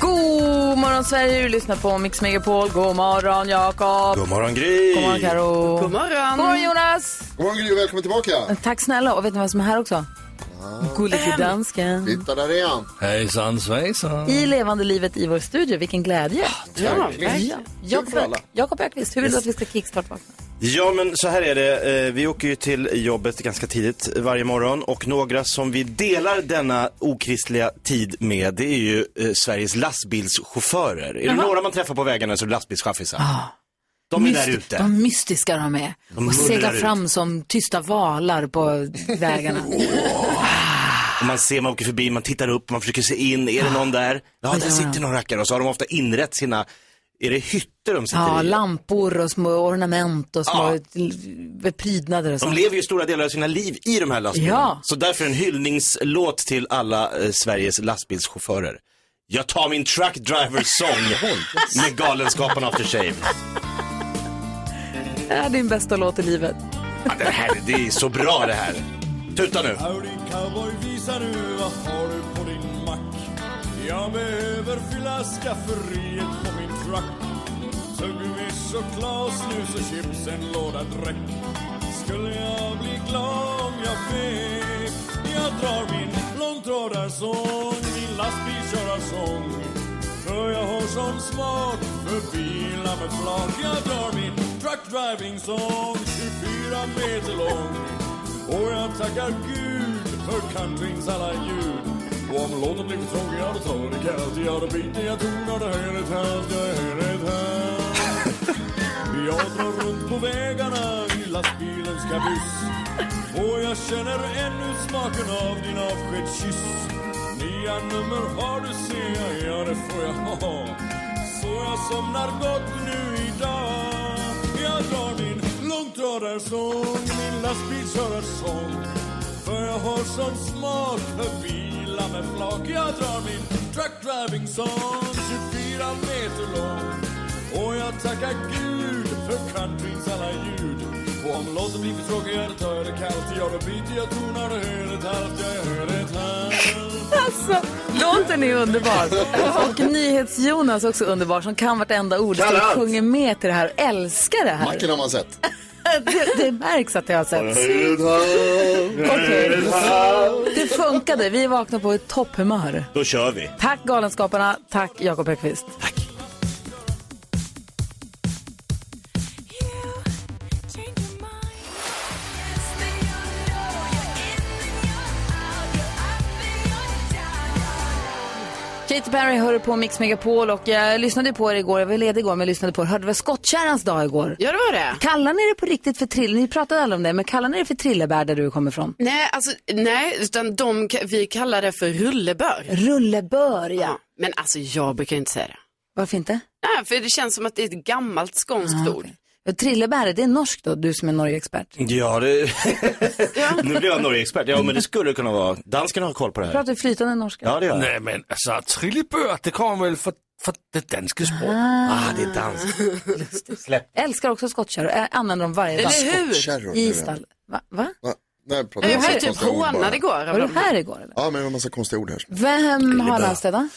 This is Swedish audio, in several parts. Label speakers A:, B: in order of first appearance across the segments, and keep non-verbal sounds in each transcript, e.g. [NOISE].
A: God morgon Sverige, du lyssnar på Mix Megapol. God morgon Jakob.
B: God morgon Gry!
A: God morgon Karo.
C: God morgon.
A: God morgon Jonas.
D: God morgon Gry och välkommen tillbaka. Ah.
A: Tack snälla och vet ni vem som är här också? Gullige dansken.
D: Titta där är han.
B: Hejsan svejsan!
A: I levande livet i vår studio, vilken glädje.
C: Ja,
A: Ja. Jakob
D: för alla.
A: Öqvist- Jakob Öqvist, hur vill du att vi ska kickstart-vakna?
B: Ja men så här är det, Eh, vi åker ju till jobbet ganska tidigt varje morgon och några som vi delar denna okristliga tid med det är ju eh, Sveriges lastbilschaufförer. Är det några man träffar på vägarna så är det lastbilschaffisar. De är där
A: Myst-
B: ute.
A: De mystiska de är.
B: De
A: och
B: mullrar
A: seglar
B: ut.
A: fram som tysta valar på
B: [LAUGHS]
A: vägarna.
B: Och man ser, man åker förbi, man tittar upp, man försöker se in, är det någon där? Ja, där sitter någon rackare och så har de ofta inrett sina, är det hytter de sitter
A: Ja,
B: i?
A: lampor och små ornament och små
B: Ja.
A: l- prydnader och
B: De
A: sånt.
B: lever ju stora delar av sina liv i de här lastbilarna.
A: Ja.
B: Så därför en hyllningslåt till alla eh, Sveriges lastbilschaufförer. Jag tar min truck driver
A: [LAUGHS]
B: sång med Galenskaparna After Shave.
A: Det är din bästa låt i livet.
B: Ja, det, här, det är så bra det här. Tuta nu.
E: Howdy cowboy, visa nu vad har du på din mack? Jag behöver fylla skafferiet på min truck Tuggummi, choklad, snus och chips, en låda dräck Skulle jag bli glad om jag fick Jag drar min långtradarsång, min lastbilkörarsång För jag har sån smak för bilar med flak Jag drar min truckdrivingsång, 24 meter lång och jag tackar Gud för countryns alla ljud Och om låten blir för tråkig, ja då tar det kallt Ja då byter jag ton och då höjer ett halt, jag höjer ett halt Jag drar runt på vägarna i lastbilens kabyss Och jag känner ännu smaken av din avskedskyss Nya nummer har du ser jag, ja det får jag ha Så jag somnar gott nu idag jag drar min långtradarsång, min lastbilskörarsång För jag har sån smak för bilar med flak Jag drar min truckdrivingsång, 24 meter lång Och jag tackar Gud för countryns alla ljud Och om låten blir för tråkig, ja då tar jag det kallt Ja då byter jag ton, och då hör ett halvt, jag hör ett halvt
A: Alltså, låten är underbar. Och NyhetsJonas också underbar som kan vartenda ord. Så
D: Kan
A: jag
D: allt.
A: sjunger med till det här och älskar det här.
D: Macken har man sett.
A: [LAUGHS] Det, det märks att jag har sett. Okej. Det funkade. Vi vaknade på ett topphumör.
B: Då kör vi.
A: Tack Galenskaparna. Tack Jakob Högqvist. Katy Perry hör på Mix Megapol och jag lyssnade ju på er igår. Jag var ledig igår men jag lyssnade på er. Hörde det var skottkärrans dag igår.
C: Ja, det var det.
A: Kallar ni det på riktigt för trille? Ni pratade alla om det, men kallar ni det för trillebär där du kommer ifrån?
C: Nej, alltså, nej, utan de, ka- vi kallar det för rullebör.
A: Rullebör, ja.
C: Ja. Men alltså jag brukar inte säga det.
A: Varför inte?
C: Nej, för det känns som att det är ett gammalt skånskt
A: Ah,
C: ord.
A: Ja, Trillebär, det är norskt då, du som är Norge-expert.
B: Ja, det... [LAUGHS] nu blir jag Norge-expert. Ja, men det skulle kunna vara. Dansken har koll på det här.
A: Pratar du flytande norska?
B: Ja, det gör jag.
F: Nej, men alltså trillebør, det kommer väl från från det danska språket?
B: Ah, det är danskt.
A: [LAUGHS] Älskar också skottkärror, Ä- använder dem varje dag.
C: Eller hur?
D: Kärror.
A: I stall. Va? Va?
D: Va? Nej, pratar
C: Jag
D: om massa
C: blev typ
D: konstiga ord bara.
C: hånad igår av
A: Var du
C: dem.
A: här igår eller?
D: Ja, men det var en massa konstiga ord här.
A: Vem har namnsdag idag?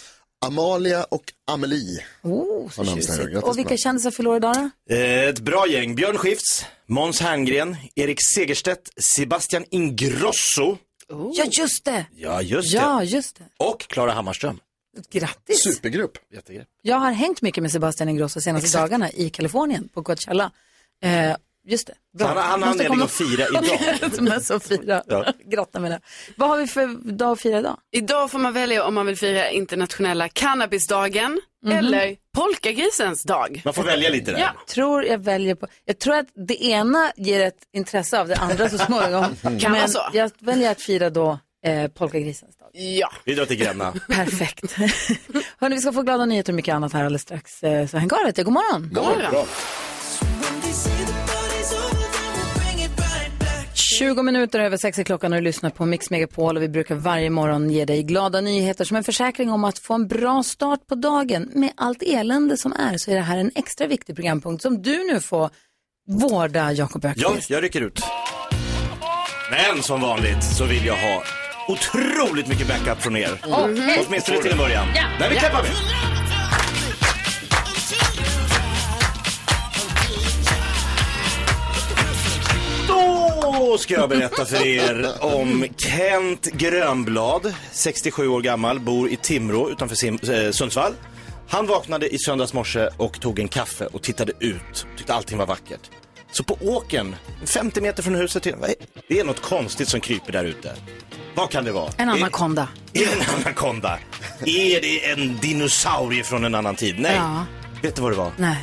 D: Amalia och Amelie.
A: Oh,
D: Har
A: så
D: namnsdag idag.
A: tjusigt.
D: Grattis,
A: Och vilka
D: Blanche.
A: kändisar fyller år idag då?
B: Eh, Ett bra gäng. Björn Skifs, Måns Herngren, Erik Segerstedt, Sebastian Ingrosso.
C: Oh.
A: Ja, just det!
B: Ja, just det.
A: Ja, just det.
B: Och Klara Hammarström.
A: Grattis!
D: Supergrupp.
A: Jag har hängt mycket med Sebastian Ingrosso senaste dagarna i Kalifornien på Coachella. Eh, just det.
B: Så han- han har
A: Måste
B: anledning att fira
A: [LAUGHS]
B: idag.
A: Som är så fira. [LAUGHS]
B: Ja.
A: Grotta med det. Vad har vi för dag att fira idag?
C: Idag får man välja om man vill fira internationella cannabisdagen
A: Mhm.
C: eller polkagrisens dag.
B: Man får välja lite där.
C: Ja.
A: Tror jag väljer på, jag tror att det ena ger ett intresse av det andra så småningom.
C: [LAUGHS] Kan
A: Men
C: vara så.
A: jag väljer att fira då eh, polkagrisens dag.
C: Ja.
B: Vi drar till Gränna.
A: Perfekt. [LAUGHS] Hörni, vi ska få glada nyheter och mycket annat här alldeles strax. Eh, Så häng kvar vet du. God morgon.
C: God morgon.
D: Bra.
A: 20 minuter över sex är klockan och du lyssnar på Mix Megapol och vi brukar varje morgon ge dig glada nyheter som en försäkring om att få en bra start på dagen. Med allt elände som är så är det här en extra viktig programpunkt som du nu får vårda, Jakob
B: Ja,
A: Öqvist.
B: jag rycker ut. Men som vanligt så vill jag ha otroligt mycket backup från er.
A: Okej.
B: Åtminstone till en början.
A: Mm-hmm. Mm. Ja.
B: Där vi klappar med. Då ska jag berätta för er om Kent Grönblad, 67 år gammal, bor i Timrå utanför Sim- eh, Sundsvall. Han vaknade i söndags morse och tog en kaffe och tittade ut. Tyckte allting var vackert. Så på åken, 50 meter från huset, till, vad är- det är något konstigt som kryper där ute. Vad kan det vara?
A: En
B: Det-
A: anakonda.
B: är det en anakonda? Är det en dinosaurie från en annan tid? Nej.
A: Ja.
B: Vet du vad det var?
A: Nej.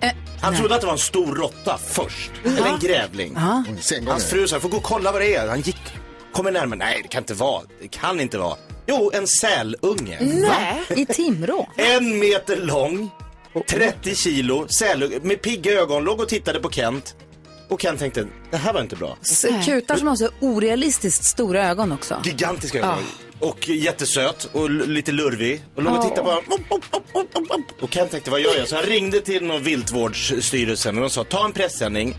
A: Eh,
B: Han
A: nej.
B: trodde att det var en stor råtta först. Eller en grävling. Hans
D: Sengångare.
B: fru sa, jag får gå och kolla vad det är. Han gick, kommer närmare. Nej, det kan inte vara. Det kan inte vara. Jo, en sälunge.
C: Nej.
A: I Timrå.
B: En meter lång, 30 kilo, sälunge med pigga ögon. Låg och tittade på Kent. Och Kent tänkte, det här var inte bra.
A: Så Kutar som har så orealistiskt stora ögon också.
B: Gigantiska ögon. Och jättesöt och l- lite lurvig. Och låg och tittade bara. Op, op, op, op, op, op. Och Kent tänkte, vad gör jag? Så han ringde till någon viltvårdsstyrelsen och de sa, ta en pressändning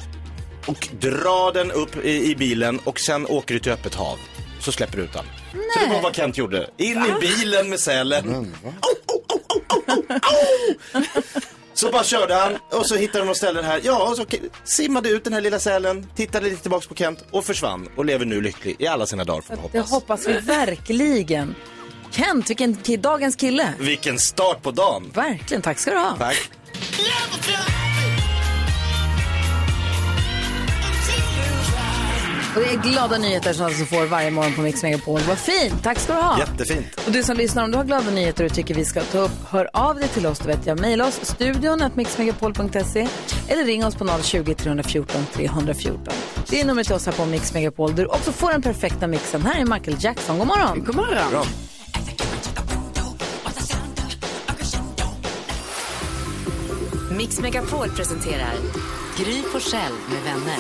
B: och dra den upp i, i bilen och sen åker du till öppet hav. Så släpper du ut den. Så det var vad Kent gjorde. In i bilen med sälen. Au, au, au, au, au, au, au. Så bara körde han och så hittade de något ställe här. Ja, och så k- simmade ut den här lilla sälen, tittade lite tillbaks på Kent och försvann och lever nu lycklig i alla sina dagar får man
A: Det
B: hoppas.
A: hoppas vi verkligen. Kent, vilken ki- dagens kille.
B: Vilken start på dagen!
A: Verkligen, tack ska du ha.
B: Tack.
A: Och det är glada nyheter som alltså får varje morgon på Mix Megapol. Vad fint, tack ska du ha.
B: Jättefint.
A: Och du som lyssnar, om du har glada nyheter och tycker vi ska ta upp, hör av dig till oss. Du vet jag, mejla oss studion at mixmegapol.se eller ring oss på 020-314 314. Det är numret till oss här på Mix Megapol där du också får den perfekta mixen. Här är Michael Jackson, god morgon.
C: God morgon.
G: Mix Megapol presenterar Gry Forssell med vänner.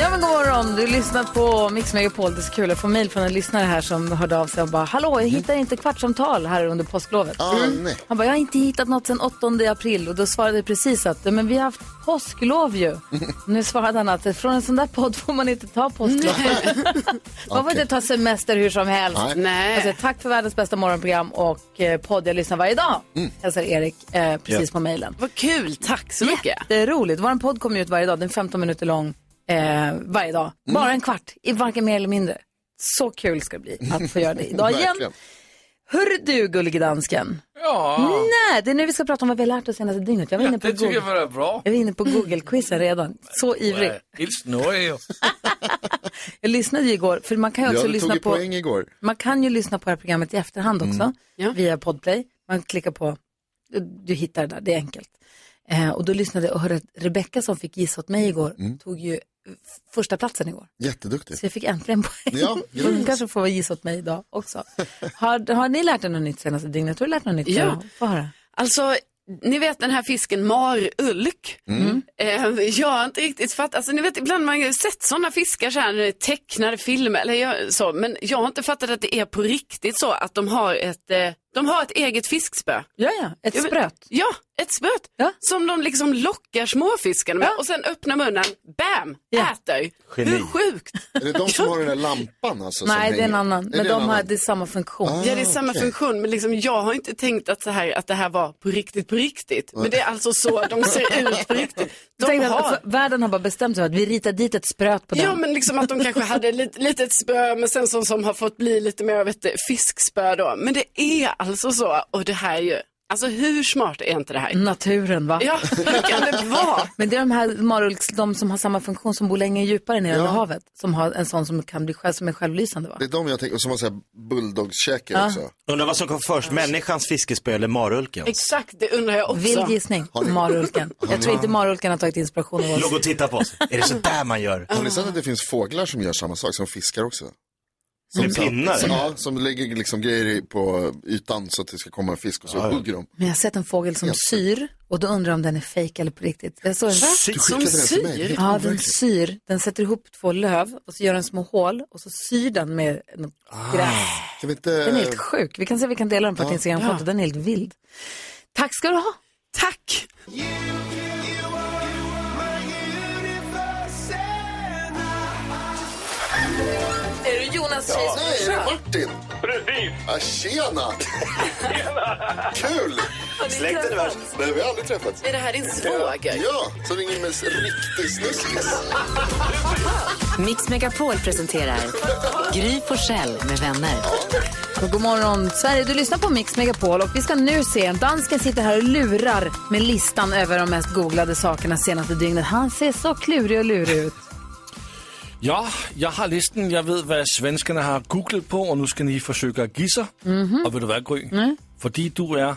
A: Ja men god morgon, du lyssnar på Mix Megapol. Det är så kul, jag får mejl från en lyssnare här som hörde av sig och bara Hallå, jag hittar inte kvartsamtal här under påsklovet. Mm.
D: Ah, nej.
A: Han bara, jag har inte hittat något sedan 8 april och då svarade jag precis att men vi har haft påsklov
D: [LAUGHS]
A: ju. nu svarade han att från en sån där podd får man inte ta påsklov. [LAUGHS] man får inte ta semester hur som helst.
D: Nej.
C: Nej.
A: Alltså, tack för världens bästa morgonprogram och eh, podd jag lyssnar varje dag. Hälsar Erik eh, precis på mejlen.
C: Vad kul, tack så mycket.
A: Jätteroligt. Vår podd kommer ut varje dag. Den är 15 minuter lång eh, varje dag. Bara en kvart, i varken mer eller mindre. Så kul ska det bli att få göra det
C: [LAUGHS]
A: idag igen.
D: Verkligen.
A: Hörru du, gullige dansken.
F: Ja,
A: Nej, det är nu vi ska prata om vad vi har lärt oss senaste dygnet. Jag var inne på,
F: det tycker
A: Google,
F: jag var bra.
A: jag var inne på Google-quizen redan. Så ivrig.
F: Helt snurrig ju.
A: Jag lyssnade ju igår, för man kan ju
D: Jag
A: också
D: hade
A: lyssna
D: tagit
A: på...
D: poäng igår. Mm.
A: Man kan ju lyssna på det här programmet i efterhand också,
C: Ja.
A: via Podplay. Man klickar på, du, du hittar det där, det är enkelt. Eh, och då lyssnade jag och hörde att Rebecka som fick gissa åt mig igår,
D: Mm.
A: tog ju f- första platsen igår.
D: Jätteduktig.
A: Så jag fick äntligen poäng. [LAUGHS]
D: Ja, grattis.
A: Hon kanske får gissa åt mig idag också. Har, har ni lärt er något nytt senaste dygnet? Har du lärt något nytt?
C: Ja.
A: Få höra.
C: Alltså, ni vet den här fisken marulk.
D: Mm.
A: Mm.
C: Eh, jag har inte riktigt fattat, alltså ni vet ibland har man ju sett sådana fiskar så här, i tecknade filmer eller jag- så, men jag har inte fattat att det är på riktigt så att de har ett, eh, de har ett eget fiskspö.
A: Ja, ja, ett
C: Ja, men-
A: spröt.
C: Ja, ett spöt
A: Ja.
C: som de liksom lockar småfiskarna med
A: Ja.
C: och sen öppnar munnen, bam,
A: Ja.
C: äter.
B: Geni.
C: Hur sjukt?
D: Är det de som har den där lampan alltså? som
A: Nej, det är en
D: hänger?
A: annan. Men
D: det
A: de
D: en
A: har
D: annan?
A: det är samma funktion.
D: Ah.
C: Ja, det är samma
D: okej.
C: funktion, men liksom, jag har inte tänkt att, så här, att det här var på riktigt, på riktigt. Men det är alltså så de ser ut
A: [LAUGHS]
C: på riktigt.
A: Jag
C: De
A: tänkte att
C: har...
A: för- Världen har bara bestämt sig för att vi ritar dit ett spröt på den.
C: Ja, men liksom att de kanske hade lite, litet spö, men sen som, som har fått bli lite mer av ett eh, fiskspö då. Men det är alltså så, och det här är ju, alltså hur smart är inte det här?
A: Naturen, va?
C: Ja, hur kan det
A: [LAUGHS]
C: vara?
A: Men det är de här marulks, de som har samma funktion som bor längre djupare nere under havet. Som har en sån som kan bli själv, som är självlysande va?
D: Det är de jag tänker, och som har så här bulldogskäke också.
B: Undrar vad som kom först, människans fiskespö eller marulken?
C: Exakt, det undrar jag också.
A: Vild gissning, marulken. Jag tror inte marulken har tagit inspiration av
B: Låg
A: oss.
B: och titta på oss. Är det så där man gör?
D: Har ni sett att det finns fåglar som gör samma sak, som fiskar också? Som,
B: Med pinnar?
D: Ja, som lägger liksom grejer i- på ytan så att det ska komma en fisk och så hugger de.
A: Men jag har sett en fågel som syr och då undrar jag om den är fejk eller på riktigt. Jag såg en
D: Syr? Du skickade den till mig. Det är helt
A: Ja, den
D: overkligt.
A: syr. Den sätter ihop två löv och så gör den små hål och så syr den med något gräs.
D: Kan vi inte...
A: Den är
F: Eh,
A: helt sjuk. Vi kan se om vi kan dela den på ett
D: Ja.
A: Instagramkonto. Den är helt vild. Tack ska du ha.
C: Tack.
A: Alltså, Är du Jonas
D: Ja, nej, är det
A: Tjejs
D: Martin? Precis. Ja, tjena. Kul.
B: Släkten är värst.
D: Nej, vi har aldrig träffats.
C: Är det här din svåger?
D: Ja, som ringer med riktig snuskis.
G: Mix Megapol presenterar Gry Forssell med vänner.
A: God morgon Sverige, du lyssnar på Mix Megapol och vi ska nu se, dansken sitter här och lurar med listan över de mest googlade sakerna senaste dygnet. Han ser så klurig och lurig ut.
F: Ja, jag har listan. Jag vet vad svenskarna har googlat på och nu ska ni försöka gissa.
A: Mhm.
F: Och vill du vara Gry?
A: Mm.
F: Fordi du är...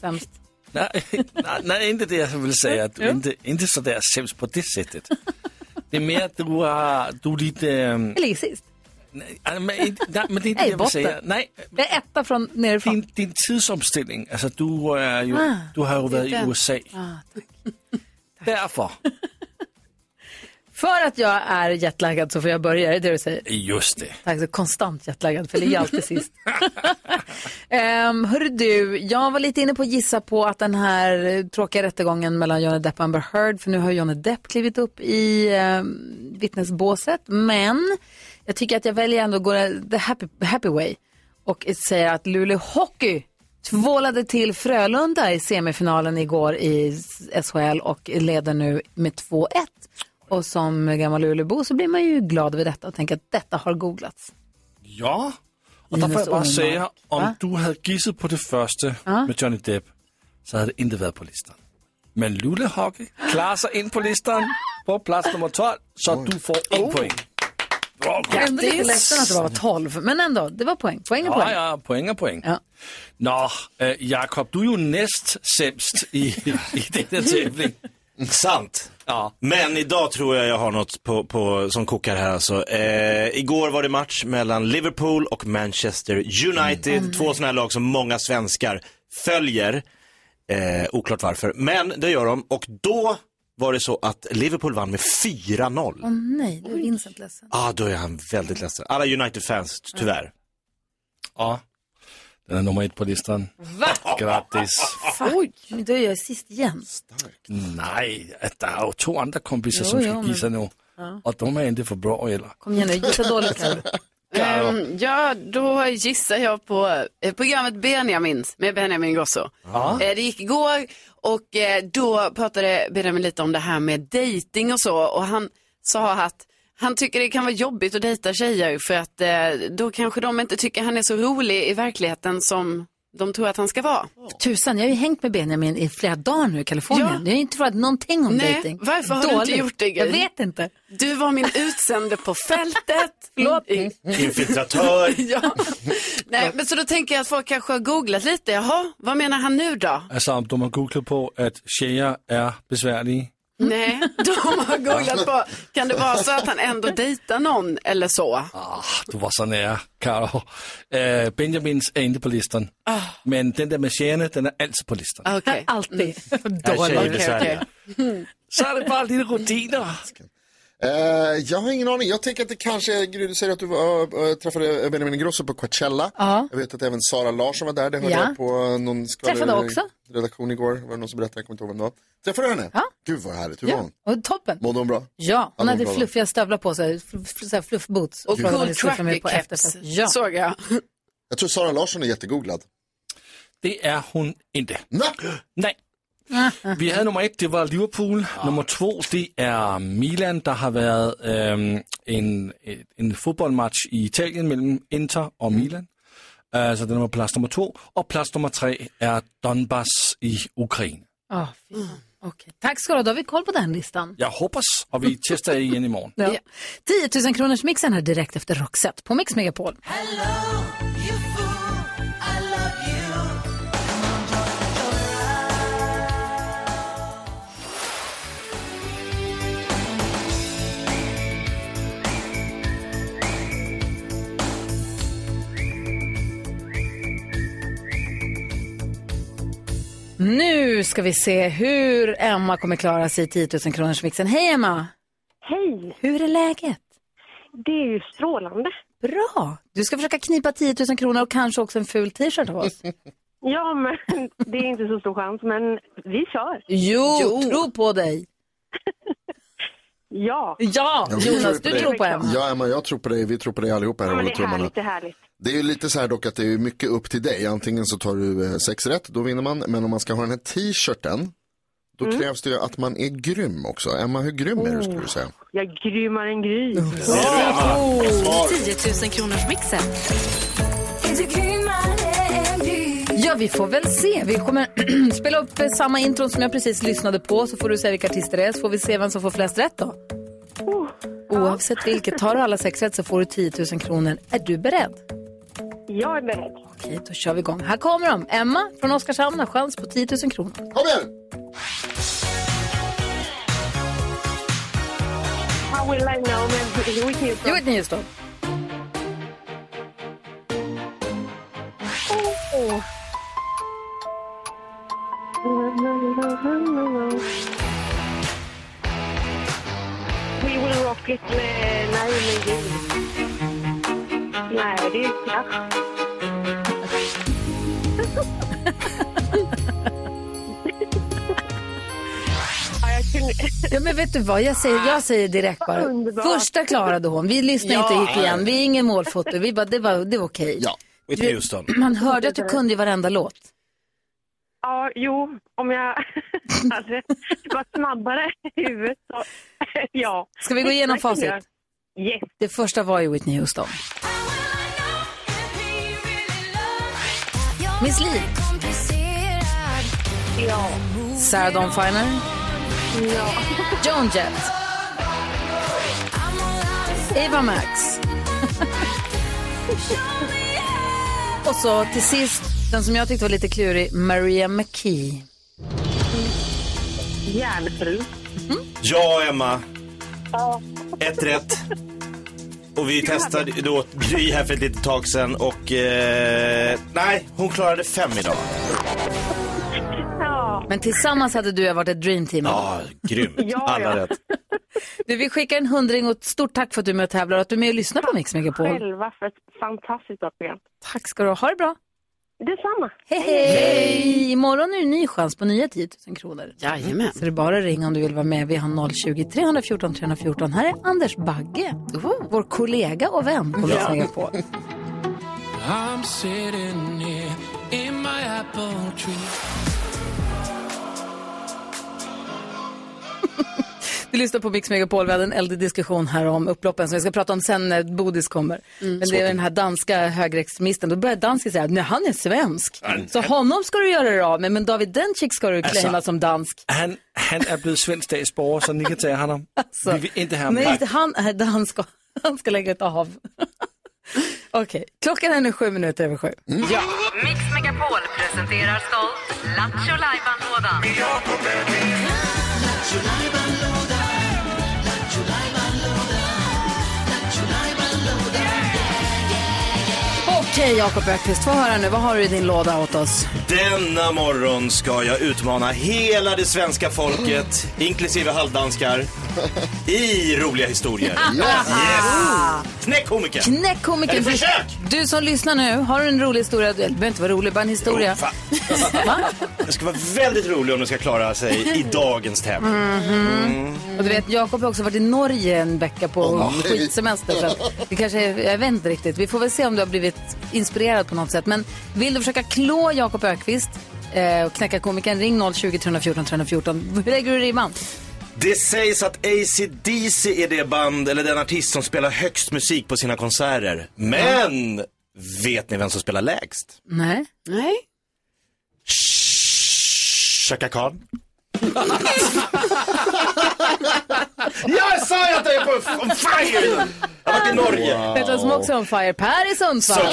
A: Sämst.
F: Nej, [LAUGHS] nej, nej, inte det jag vill säga. Du är inte, inte sådär sämst på det sättet. Det är mer att du, har, du är lite... ehm,
A: Eller sist.
F: Nej, men, inte- nej, men det är
A: Nej,
F: inte det jag vill
A: botten.
F: säga. Nej,
A: Det är etta från nerifrån.
F: din, din tidsomställning. Alltså, du, är ju,
A: Ah,
F: du har ju
A: det är
F: varit i
A: den.
F: USA. Därför.
A: För att jag är jetlaggad så får jag börja, är det det du säger?
F: Just det.
A: Tack, så konstant jetlaggad, för det ligger alltid sist. um, hörru du, jag var lite inne på att gissa på att den här eh, tråkiga rättegången mellan Johnny Depp och Amber Heard, för nu har Johnny Depp klivit upp i um, vittnesbåset, men jag tycker att jag väljer ändå att gå the happy, happy way och säger att Luleå Hockey tvålade till Frölunda i semifinalen igår i SHL och leder nu med 2-1. Och som gammal Luleåbo så blir man ju glad över detta och tänker att detta har googlats.
F: Ja, och där
A: Linus
F: får jag bara
A: Ohlmark,
F: säga, om
A: va?
F: du hade gissat på det första
A: Ja.
F: med Johnny Depp så hade det inte varit på listan. Men Luleå Hockey klarar sig in på listan på plats nummer 12 så du får en poäng. Bra,
A: Jag är ändå lite ledsen att Oh. det bara var 12, men ändå, det var poäng. Poäng är
F: Ja,
A: poäng.
F: ja, poäng och poäng. Nå, eh, Jakob, du är ju näst sämst i, i denna tävling.
B: Sant.
F: Ja.
B: Men idag tror jag jag har något på, på, som kokar här alltså. Eh, igår var det match mellan Liverpool och Manchester United. Två sådana här lag som många svenskar följer. Eh, oklart varför, men det gör de. Och då var det så att Liverpool vann med 4-0.
A: Åh nej, nu är Vincent ledsen.
B: Ah, då är han väldigt ledsen. Alla United-fans, tyvärr.
F: Ja, den är nummer ett på listan.
A: Va?
F: Grattis.
A: Oj, men då är jag sist igen.
F: Nej, det är ju två andra kompisar
A: Jo,
F: som
A: jo,
F: ska
A: men-
F: gissa nu.
A: Ja.
F: Och de är inte för bra heller.
A: Kom igen nu, gissa dåligt här.
C: Ehm, ja, då gissar jag på eh, programmet Benjamins med Benjamin Ingrosso.
F: Ja.
C: Eh, det gick igår och eh, då pratade Benjamin lite om det här med dating och så och han sa att han tycker det kan vara jobbigt att dejta tjejer för att eh, då kanske de inte tycker han är så rolig i verkligheten som de tror att han ska vara.
A: Tusan, jag har ju hängt med Benjamin i flera dagar nu i Kalifornien.
C: Ja.
A: Jag har inte frågat någonting om
C: Nej,
A: dejting.
C: varför har du inte gjort det, Gry?
A: Jag vet inte.
C: Du var min utsände på fältet. Mm.
A: Förlåt.
C: I-
B: Infiltratör.
C: ja. Nej, men så då tänker jag att folk kanske har googlat lite. Jaha, vad menar han nu då?
F: Alltså om de har googlat på att tjejer är besvärliga.
C: Nej, [LAUGHS] de har googlat på, kan det vara så att han ändå dejtar någon eller så?
F: Ah, du var så nära, Karo. Eh, Benjamins är inte på listan.
A: Ah.
F: Men den där med tjejerna, den är alltid på listan.
C: Okej.
A: Alltid.
B: Är
A: Dåligt.
B: tjejer
C: okej.
B: besvärliga?
H: Mm.
F: Så är det bara lite rutiner.
D: Eh, jag har ingen aning. Jag tänker att det kanske är, Gry, du säger att du var, eh, träffade Benjamin Ingrosso på Coachella.
A: Ja.
D: Jag vet att även Sara Larsson var där. Det hörde
A: Ja.
D: jag på eh, någon
A: Träffade också.
D: redaktion igår. Var det någon som berättade? Jag kommer inte ihåg vem det var. Träffade du henne?
A: Ja.
D: Gud vad härligt. Hur var
A: Ja,
D: hon?
A: och toppen.
D: Mådde hon bra?
A: Ja, hon
D: Hade hon
A: hade
D: bra-
A: fluffiga stövlar på sig, fl- fl- så här fluffboots.
C: Och
A: Från när vi
C: cool
A: skulle följa med på
C: tracker-keps
A: efterfest. Ja.
C: såg jag.
D: Jag tror Sara Larsson är jättegooglad.
F: Det är hon inte.
D: Nej!
A: [LAUGHS]
F: Nej. Vi hade nummer ett, det var Liverpool. Nummer två, det är Milan. Det har varit ehm, en, en fotbollsmatch i Italien mellan Inter och Milan. Eh, så den var plats nummer två. Och plats nummer tre är Donbass i Ukraina.
A: Ah, fy fan. Okej. Tack ska du ha, då har vi koll på den listan.
F: Jag hoppas, och vi testar igen imorgon.
A: Ja. 10 000 kronors mixen här direkt efter Roxette på Mix Megapol. Nu ska vi se hur Emma kommer klara sig i 10 000 kronors mixen. Hej Emma!
I: Hej!
A: Hur är läget?
I: Det är ju strålande.
A: Bra! Du ska försöka knipa 10 000 kronor och kanske också en ful t-shirt
I: [LAUGHS]
A: av oss.
I: Ja, men [LAUGHS] det är inte så stor chans, men vi kör.
A: Jo, tro på dig!
I: Ja.
A: Ja,
D: Ja, vi
A: Jonas, du
D: dig.
A: tror på Emma.
D: Ja, Emma, jag tror på dig. Vi tror på dig allihopa här
I: Ja,
D: och
I: men
D: håller
I: det är
D: tummarna.
I: härligt, det är härligt.
D: Det är ju lite så här dock att det är mycket upp till dig. Antingen så tar du eh, sex rätt, då vinner man. Men om man ska ha den här t-shirten, då
A: Mm.
D: krävs det ju att man är grym också. Emma, hur grym är du
A: Oh.
D: skulle du säga?
I: Jag grymmar en gry.
G: 10 000 kronors mixen.
A: Ja, vi får väl se. Vi kommer [CLEARS THROAT] spela upp eh, samma intron som jag precis lyssnade på så får du säga vilka artister det är så får vi se vem som får flest rätt då.
I: Oh.
A: Oavsett vilket, tar du alla sex rätt så får du 10 000 kronor. Är du beredd?
I: Jag är beredd.
A: Okej, då kör vi igång. Här kommer de. Emma från Oskarshamn har chans på 10 000 kronor.
D: Kom igen!
I: How will I know med Whitney Houston?
A: Whitney Houston.
I: Oh. We will rock it eh, med Naomi Dean. Nej, det är klass.
A: Ja, men vet du vad? Jag säger, jag säger direkt bara.
I: Underbart.
A: Första klarade hon. Vi lyssnade
C: Ja.
A: inte gick igen. Vi är ingen målfoto. Vi bara, det var, det var okej.
B: Whitney Houston.
A: Man hörde att du kunde ju varenda låt.
I: Ja, jo, om jag [LAUGHS] hade varit snabbare i huvudet så [LAUGHS] ja.
A: Ska vi gå igenom
I: Exakt som
A: facit?
I: jag. Yes.
A: Det första var ju Whitney Houston. Miss Li,
I: Ja.
A: Sarah Dawn Finer,
I: ja.
A: Joan Jett, Eva Max. Och så till sist, den som jag tyckte var lite klurig, Maria McKee.
I: Järnfru.
B: Ja, Emma.
I: Ja.
B: Ett rätt. Och vi testade då Gry här för ett litet tag sedan och eh, nej, hon klarade fem idag.
I: Ja.
A: Men tillsammans hade du och jag varit ett dreamteam.
B: Ja, grymt.
I: Ja,
B: Alla
I: ja.
B: rätt.
A: Du, vi skickar en hundring och ett stort tack för att du är med och tävlar och att du är med och lyssnar på Mix Megapol.
I: Själva för ett fantastiskt bra program.
A: Tack ska du ha. Ha det bra.
I: Detsamma.
A: Hej, hej! Imorgon är det en ny chans på nya 10 000 kronor.
C: Jajamän.
A: Så det är bara att ringa om du vill vara med. Vi har 020 314 314. Här är Anders Bagge, vår kollega och vän på Mix Megapol.
E: I'm sitting here in my apple tree
A: Du lyssnar på Mix Megapol. Vi hade en eldig diskussion här om upploppen som vi ska prata om sen när Bodis kommer. Men det är den här danska högerextremisten. Då börjar dansken säga att "Nej, han är svensk. Så honom ska du göra dig av med, men David Dencik ska du claima som dansk.
F: Han, han er blevet svensk statsborger, så ni kan
A: [LAUGHS]
F: tage ham.
A: Så-
F: Vi vil inte have ham.
A: Nej, inte han är dansk. [LAUGHS] och Han ska lägga ett av. [LAUGHS] Okej, klockan är nu sju minuter över sju.
G: Mm. Mix Megapol presenterar stolt Lattjo Lajban-lådan.
A: Okej, Jakob Öqvist, få höra nu. Vad har du i din låda åt oss?
B: Denna morgon ska jag utmana hela det svenska folket, inklusive halvdanskar, i roliga historier. Yes! Knäck komikern!
A: Knäck komikern.
B: Ett
A: Du,
B: försök!
A: du som lyssnar nu, har du en rolig historia? Du det behöver inte vara rolig, bara en historia.
B: Fan,
A: Va?
B: Det ska vara väldigt roligt om de ska klara sig i dagens tävling.
A: Mm-hmm. Och du vet, Jakob har också varit i Norge en vecka på
D: nej.
A: skitsemester. Så att det kanske är, jag vet inte riktigt. Vi får väl se om du har blivit inspirerad på något sätt. Men vill du försöka klå Jakob Ökvist eh, och knäcka komikern, ring 020 314 314. Hur lägger du ribban?
B: Det sägs att AC/DC är det band, eller den artist som spelar högst musik på sina konserter. Men, vet ni vem som spelar lägst?
A: Nej.
C: Nej.
B: Chaka Khan. [LAUGHS] jag sa ju att jag är på f- on fire! Jag har varit i Norge.
A: Vet du vad som också är on fire? Per i Sundsvall.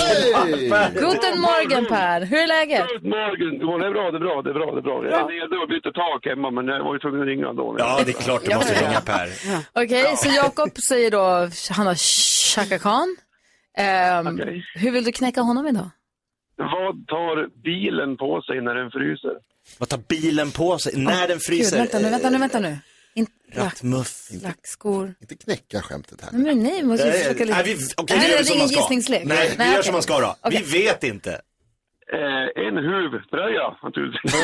A: Guten morgen Per, hur är läget?
J: Morgon, jo, det är bra, det är bra, det är bra, det är bra. Jag är nere och bytte tak hemma, men jag var ju tvungen att ringa ändå.
B: Ja, det är klart du måste ringa Per.
A: Okej, så Jakob säger då, han har Chaka Khan. Ehm,
J: Okej.
A: Hur vill du knäcka honom idag?
J: Vad tar bilen på sig när den fryser?
B: Vad tar bilen på sig när den fryser?
A: Gud, vänta nu, vänta nu, vänta nu. In-
B: Rattmuff.
A: Lackskor.
D: Inte knäcka skämtet här.
A: Nej, men nej, vi måste ju försöka lite.
B: Eh, Nej, vi, okej,
A: Nej,
B: vi gör
A: det är
B: som
A: ingen
B: man ska.
A: gissningslek.
B: Nej, vi gör
A: okej.
B: som man ska då.
A: Okej.
B: Vi vet inte.
J: Eh, en huvtröja,
A: [LAUGHS]
J: naturligtvis.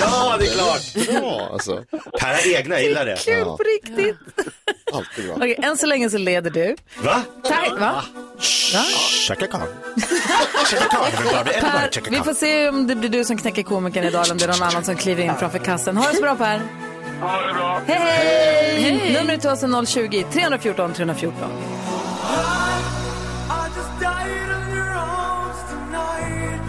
B: Ja, det är klart.
D: Bra, alltså.
B: Per har egna, jag gillar det.
A: Kul på riktigt.
D: Alltid bra.
A: Okej, än så länge så leder du.
B: Va?
A: Tack, va? Va?
B: Chaka
A: [LAUGHS]
B: Khan. Chaka Khan, everybody, everybody, Chaka
A: Vi får
B: Khan.
A: se om det blir du som knäcker komikern idag eller om det är någon annan som kliver in framför kassen. Ha det så bra Per.
J: Ha det bra.
A: Hej, hej! Numret till oss är 020-314 314.
H: Tonight.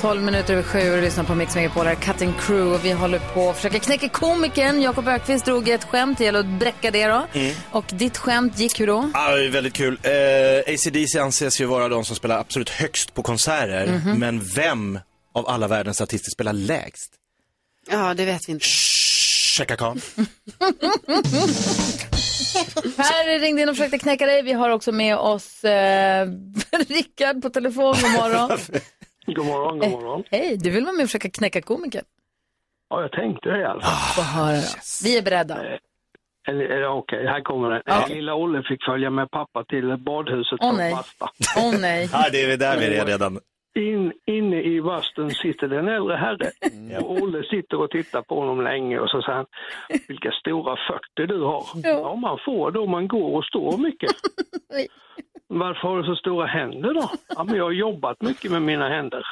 A: 12 minuter över sju och du lyssnar på Mix Megapol här, Cutting Crew. Och vi håller på att försöka knäcka komikern. Jakob Ökvist drog ett skämt, det gäller att bräcka det då.
B: Mm.
A: Och ditt skämt gick hur då?
B: Ja, det är väldigt kul. Eh, ACDC anses ju vara de som spelar absolut högst på konserter.
C: Mhm.
B: Men vem av alla världens artister spelar lägst?
C: Ja, det vet vi inte.
B: Chaka Khan.
A: Per ringde in och försökte knäcka dig. Vi har också med oss eh, [LAUGHS] Rickard på telefon. God
B: [LAUGHS]
A: morgon. Eh,
J: God morgon, god morgon.
A: Hej, du vill vara med och försöka knäcka komikern?
J: Ja, jag tänkte det i alla fall.
A: Ah. Få höra då. Vi är beredda.
B: Eh.
J: Eller, eller Okej, här kommer den. Eh, Lilla Olle fick följa med pappa till badhuset
A: Åh
J: för
A: nej.
J: pasta.
A: Åh nej.
B: Ja, det är där vi är redan.
J: In, inne i bastun sitter den äldre herre.
B: Mm.
J: Och Olle sitter och tittar på honom länge och så säger han, vilka stora fötter du har. Ja, man får då man går och står mycket. Varför har du så stora händer då? Ja, men jag har jobbat mycket med mina händer.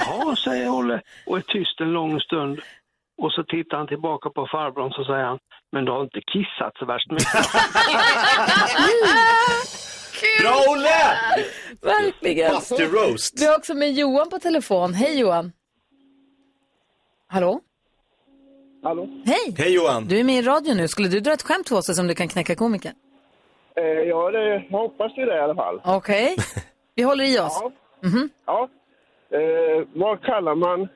J: Jaha, säger Olle och är tyst en lång stund. Och så tittar han tillbaka på farbrorn så säger han, men du har inte kissat så värst mycket.
B: Bra Olle!
A: [LAUGHS] Ah, Verkligen.
B: Buster roast.
A: Vi har också med Johan på telefon. Hej Johan. Hallå?
K: Hallå?
A: Hej!
B: Hej Johan.
A: Du är med i radio nu. Skulle du dra ett skämt till oss som du kan knäcka komikern?
K: Eh, ja, det, jag hoppas ju det i alla fall.
B: [LAUGHS]
A: Okej. Vi håller i oss. Mhm.
K: Ja. Eh, vad kallar man...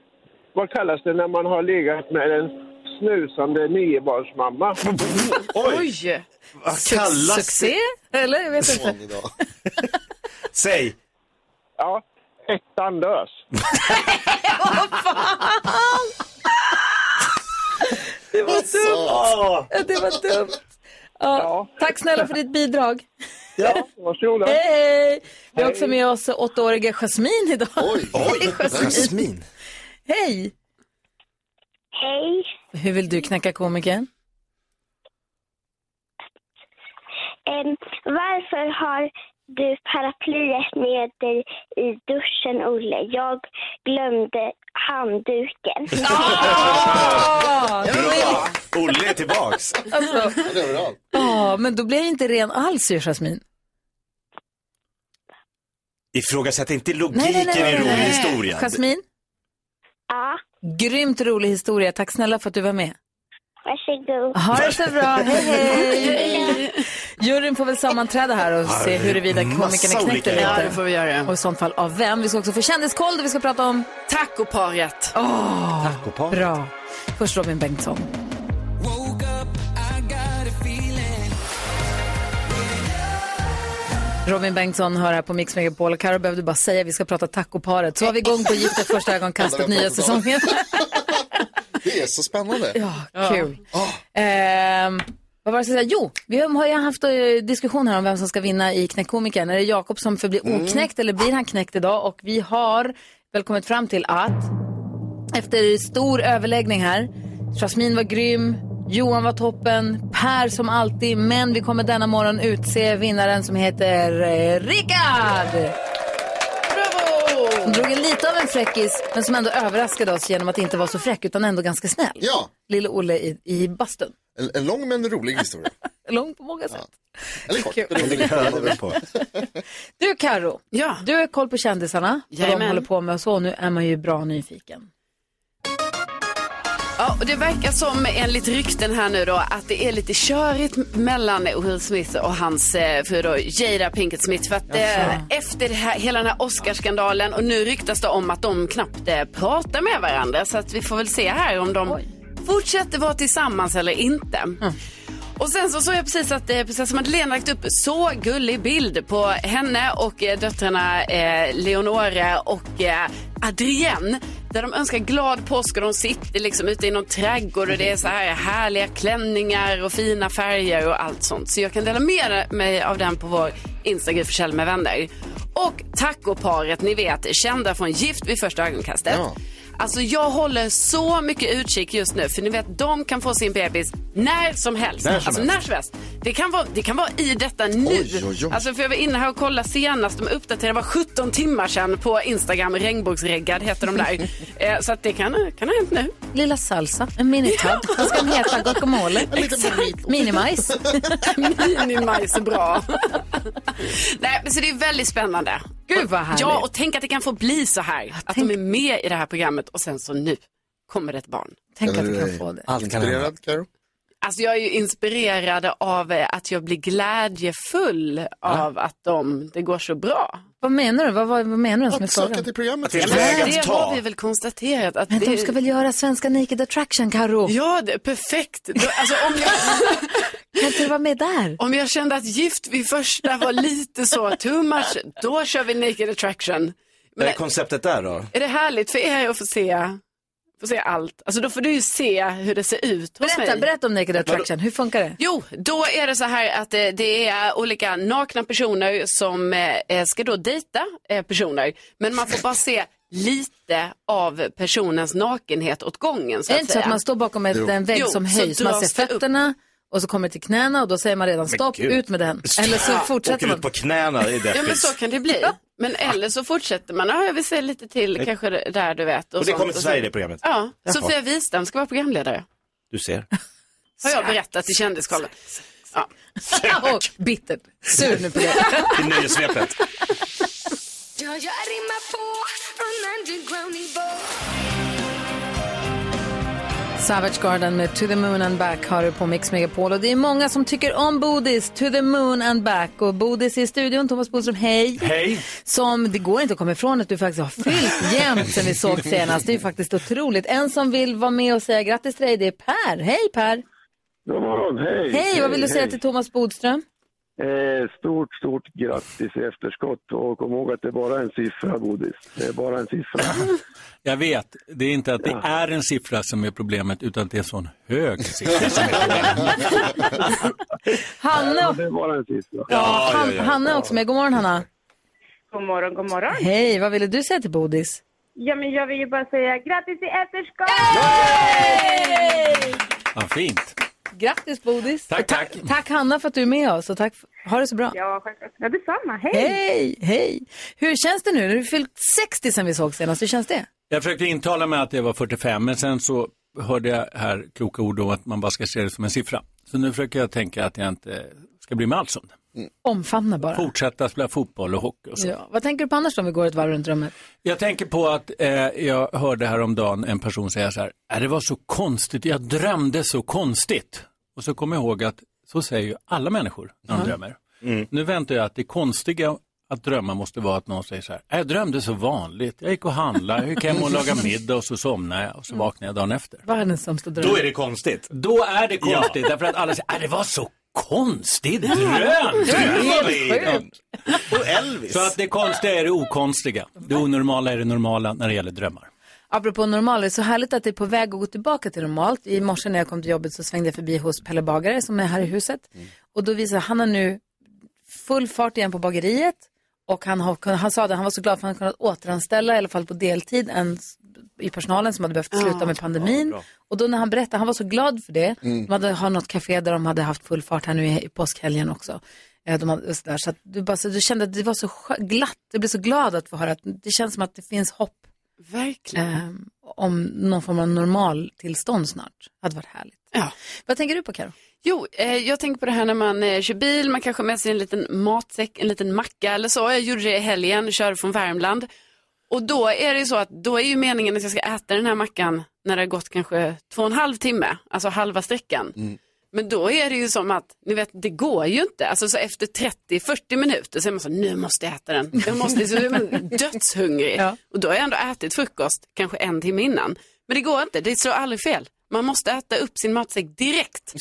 K: Vad kallas det när man har legat med en snusande
B: [LAUGHS]
K: niobarnsmamma?
C: Oj!
B: Vad kallas
A: Succé? Eller? Jag vet inte.
B: [LAUGHS] Säg.
K: Ja, ettan lös.
A: Det var dumt. [LAUGHS] Ja, Det var dumt. Ja. Tack snälla för ditt bidrag.
K: Ja, varsågoda.
A: Hej, hej. Vi har också med oss åttaåriga Jasmine idag. Oj,
B: oj. Jasmine.
A: Hej!
L: Hej.
A: Hur vill du knäcka komikern?
L: Em, varför har du paraplyet med dig i duschen, Olle? Jag glömde handduken.
B: Bra. Olle är tillbaks.
A: Alltså. Ja, men då blir jag inte ren alls ju, Jasmine.
B: Ifrågasätt inte logiken
A: Nej, nej, nej,
B: i
A: nej,
B: rolig
A: nej.
B: historia.
A: Jasmine?
L: Ja.
A: Grymt rolig historia. Tack snälla för att du var med.
L: Varsågod.
A: Ha det så bra. Hej, hej. Juryn får väl sammanträda här och
L: Ja,
A: se huruvida
L: massa olika
A: komikerna knäcker lite.
L: idéer. Ja,
C: det
A: får vi göra. Och i sånt fall av vem. Vi ska också få kändiskoll där vi ska prata om tacoparet. Åh,
B: Tacoparet.
A: Bra. Först Robin Bengtsson. Robin Bengtsson hör här på Mix Megapol och Karo behövde bara säga att vi ska prata tacoparet. Så var vi igång på Gift i första ögonkastet, nya säsongen.
D: Det är så spännande.
A: Ja, kul. Ehm, vad var det jag skulle säga? Jo, vi har ju haft eh, diskussion här om vem som ska vinna i Knäckkomikern. Är det Jakob som förblir
M: Mm.
A: oknäckt eller blir han knäckt idag? Och vi har väl kommit fram till att efter stor överläggning här, Jasmine var grym, Johan var toppen, Per som alltid, men vi kommer denna morgon utse vinnaren som heter eh, Rickard! Bravo! Som drog en lite av en fräckis, men som ändå överraskade oss genom att inte vara så fräck, utan ändå ganska snäll.
D: Ja.
A: Lille Olle i, i bastun.
D: En, en lång men rolig
A: [LAUGHS]
D: historia.
A: Lång på många sätt.
D: Eller kort.
A: Kul.
D: beroende på vad man vill.
A: Du Karo, du har koll på kändisarna, vad de
C: Jajamän.
A: håller på med och så. Nu är man ju bra nyfiken.
C: Ja, och det verkar som enligt rykten här nu då att det är lite körigt mellan Will Smith och hans eh, fru då, Jada Pinkett Smith. För att eh,
A: Alltså.
M: Jaså.
C: efter det här, hela den här Oscarsskandalen och nu ryktas det om att de knappt eh, pratar med varandra. Så att vi får väl se här om de fortsätter vara tillsammans eller inte. Och sen så såg jag precis att eh, prinsessa Madeleine lagt upp så gullig bild på henne och eh, döttrarna eh, Leonore och eh, Adrienne. Där de önskar glad påsk och de sitter liksom ute i någon trädgård och det är så här härliga klänningar och fina färger och allt sånt. Så jag kan dela med mig av den på vår Instagram för Kjell med vänner. Och tacoparet, ni vet, kända från Gift vid första ögonkastet. Alltså jag håller så mycket utkik just nu för ni vet de kan få sin bebis när som helst.
M: När som
C: alltså
M: helst.
C: när som helst. Det kan vara, det kan vara i detta nu.
M: Oj, oj, oj.
C: Alltså för jag var inne här och kollade senast, de uppdaterade, det var 17 timmar sedan på Instagram, regnbågsreggad heter de
M: [LAUGHS]
C: där. eh, så att det kan, kan ha hänt nu.
A: Lilla salsa, en minitub. Vad ska den heta? Guacamole?
C: Exakt.
A: Minimajs?
C: Minimajs är bra. Nej, men så det är väldigt spännande.
A: Gud vad härligt.
C: Ja, och tänk att det kan få bli så här. att de är med i det här programmet och sen så nu kommer det ett barn.
F: Allt kan hända.
D: eh, Inspirerad, Karo?
C: Alltså jag är ju inspirerad av eh, att jag blir glädjefull av att de, det går så bra.
A: Vad menar du? Vad, vad, vad menar du ens med
C: Att söka
A: frågan?
C: till programmet.
A: Ja,
C: Men
A: men
C: det har vi väl konstaterat. Att
A: Men
C: det...
A: de ska väl göra Svenska Naked Attraction, Karo?
C: Ja, det är perfekt. Då- Alltså, [LAUGHS] om jag...
A: [LAUGHS] Kan inte du vara med där?
C: Om jag kände att Gift vid första var lite så too much, då kör vi Naked Attraction.
B: Vad är konceptet där då?
C: Är det härligt för er att få se, få se allt? Alltså då får du ju se hur det ser ut hos
A: Berätta,
C: mig.
A: berätta om Naked Attraction, hur funkar det?
C: Jo, då är det så här att eh, det är olika nakna personer som eh, ska då dejta eh, personer. Men man får bara se lite av personens nakenhet åt gången. Så
A: är
C: att
A: det inte så att
C: säga.
A: man står bakom ett,
C: Jo.
A: en vägg
C: Jo,
A: som
C: så
A: höjs, man ser
C: dras det upp.
A: fötterna och så kommer det till knäna och då säger man redan stopp,
B: gud.
A: ut med den. Eller så
C: Ja,
A: fortsätter
B: Åker
A: man.
B: ut på knäna, det är
C: Ja, men
B: deppigt.
C: så kan det bli. Men eller så fortsätter man, ja, jag vill se lite till,
B: Nej.
C: kanske där du vet.
B: Och det
C: sånt.
B: kommer till
C: så-
B: Sverige, det programmet?
C: Ja,
B: Jaha.
C: Sofia Wistam ska vara programledare.
B: Du ser.
C: Har jag berättat i Kändiskollen. Ja.
A: [LAUGHS] och bittert, sur nu på det.
B: I nöjesvepet.
M: Ja, jag rimmar på en underground
A: Savage Garden med To the Moon and Back har du på Mix Megapol och det är många som tycker om Bodis, To the Moon and Back och Bodis i studion, Thomas Bodström, hej!
M: Hej.
A: Som, det går inte att komma ifrån att du faktiskt har fyllt jämt sen vi såg senast, det är ju faktiskt otroligt. En som vill vara med och säga grattis till dig, det är Per, hej Per!
N: God morgon, hej!
A: Hej, vad vill du säga
N: hej.
A: till Thomas Bodström?
N: Eh, stort, stort grattis i efterskott och kom ihåg att det är bara en siffra, Bodis. Det är bara en siffra.
O: Jag vet, det är inte att det är en siffra som är problemet, utan att det är en sån hög siffra. som är problemet.
N: [LAUGHS]
A: Hanna,
N: Det är bara en siffra.
A: ja, Han, Hanna är också med, god morgon Hanna!
P: God morgon, god morgon.
A: Hej, vad ville du säga till Bodis?
P: Ja, men jag vill ju bara säga grattis i efterskott!
O: Vad fint.
A: Grattis Bodis!
O: Tack, tack.
A: Tack Hanna för att du är med oss och tack, för- ha det så bra!
P: Ja, självklart. Ja, detsamma. Hej!
A: Hej, hej! Hur känns det nu? Du har fyllt 60 sen vi såg senast, hur känns det?
O: Jag försökte intala mig att det var 45, men sen så hörde jag här kloka ord om att man bara ska se det som en siffra. Så nu försöker jag tänka att jag inte ska bli med alls om det.
A: Omfamna bara.
O: Fortsätta spela fotboll och hockey och så.
A: Mm. Ja. Vad tänker du på annars om vi går ett varv runt rummet?
O: Jag tänker på att eh, jag hörde häromdagen en person säga så här, "Äh, det var så konstigt, jag drömde så konstigt. Och så kom jag ihåg att så säger ju alla människor när de
F: Ja.
O: drömmer. Nu väntar jag att det konstiga att drömma måste vara att någon säger så här, "Äh, jag drömde så vanligt, jag gick och handlade, jag gick hem och lagade middag och så somnade jag och så vaknade jag dagen efter.
A: Världens sämsta dröm.
O: Då är det konstigt. Då är det konstigt, därför att alla säger, "Äh, det var så konstig dröm.
M: Det var helt
O: Ja.
M: sjukt. Och Elvis.
O: Så att det konstiga är det okonstiga, det onormala är det normala när det gäller drömmar.
A: Apropå normalt, det är så härligt att det är på väg att gå tillbaka till normalt. I morse när jag kom till jobbet så svängde jag förbi hos Pelle Bagare som är här i huset. Och då visade han har nu full fart igen på bageriet. Och han, har, kunnat- han sa det, han var så glad för han kunnat återanställa, i alla fall på deltid, en s- i personalen som hade behövt sluta med pandemin. och då när han berättade, han var så glad för det.
M: Mm.
A: De hade, har något café där de hade haft full fart här nu i, i påskhelgen också. Eh, De hade, och så där. Så att du, bara, så, du kände att det var så skö- glatt, du blev så glad att få höra att det känns som att det finns hopp
C: Verkligen.
A: Ehm, om någon form av normal tillstånd snart. hade varit härligt. Vad tänker du på Karo?
C: Jo, eh, jag tänker på det här när man eh, kör bil, man kanske har med sig en liten matsäck, en liten macka eller så. Jag gjorde det i helgen, körde från Värmland. Och då är det ju så att då är ju meningen att jag ska äta den här mackan när det har gått kanske två och en halv timme, alltså halva sträckan.
A: Mm.
C: Men då är det ju som att, ni vet, det går ju inte. Alltså så efter 30-40 minuter så är man så, nu måste jag äta den. Jag måste, så
A: [LAUGHS]
C: är man dödshungrig. Och då har jag ändå ätit frukost, kanske en timme innan. Men det går inte, det slår aldrig fel. Man måste äta upp sin matsäck direkt.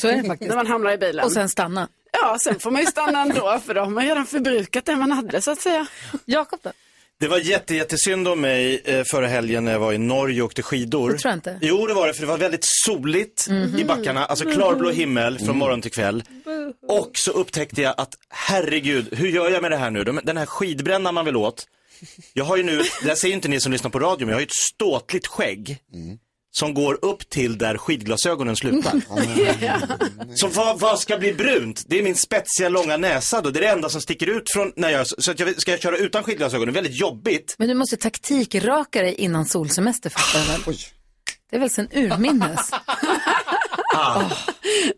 A: [LAUGHS] Så är det faktiskt.
C: När man hamnar i bilen.
A: Och sen stanna.
C: Ja, sen får man ju stanna ändå för då har man redan förbrukat det man hade så att säga.
A: Jakob då?
B: Det var jätte, jättesynd om mig eh, förra helgen när jag var i Norge och åkte skidor.
A: Det tror jag inte.
B: Jo, det var det, för det var väldigt soligt
A: Mhm.
B: i backarna. Alltså klarblå himmel från
A: Mm.
B: morgon till kväll. Och så upptäckte jag att, herregud, hur gör jag med det här nu? De- Den här skidbrännan man vill åt. Jag har ju nu, det här säger inte ni som lyssnar på radio, men jag har ju ett ståtligt skägg. Som går upp till där skidglasögonen slutar.
A: [LAUGHS]
B: Så vad, vad ska bli brunt? Det är min spetsiga långa näsa då. Det är det enda som sticker ut från när jag, så att jag, ska jag köra utan skidglasögonen? Väldigt jobbigt.
A: Men du måste ju taktikraka dig innan solsemester fattar jag väl? Det är väl sen urminnes? [LAUGHS]
B: Ah,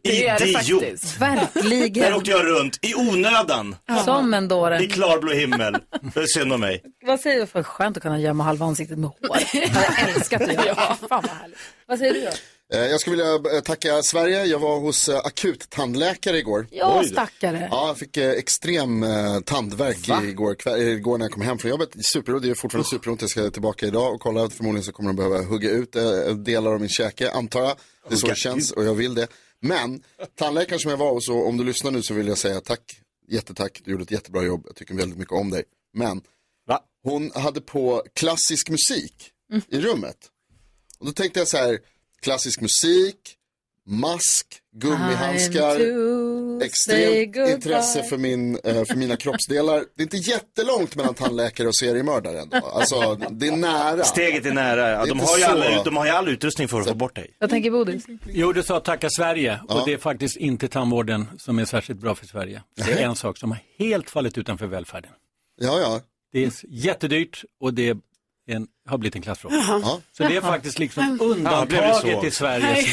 A: Det är det
B: idiot.
A: faktiskt. Verkligen.
B: Där åkte jag runt i onödan.
A: Som en dåre.
B: I klarblå himmel. Det är synd om mig.
A: Vad säger du? För skönt att kunna gömma halva ansiktet med hår. Jag älskar att du [LAUGHS] gör det. Fan vad härligt. Vad säger du då?
D: Eh, Jag skulle vilja eh, tacka Sverige. Jag var hos eh, akuttandläkare igår.
A: Ja, stackare.
D: Ja, jag fick eh, extrem eh, tandvärk igår, kväll, eh, igår när jag kom hem från jobbet. Superont, det är fortfarande superont. Jag ska tillbaka idag och kolla. Förmodligen så kommer de behöva hugga ut eh, delar av min käke, antar jag. Det är så
B: Hugga
D: det känns och jag vill det. Men tandläkaren som jag var hos, och om du lyssnar nu så vill jag säga tack, jättetack. Du gjorde ett jättebra jobb. Jag tycker väldigt mycket om dig. Men hon hade på klassisk musik
A: Mm.
D: i rummet. Och då tänkte jag så här, klassisk musik, mask, gummihandskar,
A: Time to say
D: extremt
A: goodbye.
D: intresse för, min, eh, för mina kroppsdelar. Det är inte jättelångt mellan tandläkare och seriemördare ändå. Alltså, det är nära.
B: Steget är nära.
D: Det
B: Ja,
D: är
B: de,
D: inte
B: har ju
D: så.
B: alla, ut- de har ju all utrustning för att få bort dig.
A: Vad tänker Bodil?
O: Jo, du sa tacka Sverige
B: Ja.
O: och det är faktiskt inte tandvården som är särskilt bra för Sverige. Det är en sak som har helt fallit utanför välfärden.
D: Ja, ja.
O: Det är jättedyrt och det är en, har blivit en klassfråga.
D: Ja.
O: Så det är faktiskt liksom
B: Ja, det blev ju så.
O: undantaget i Sveriges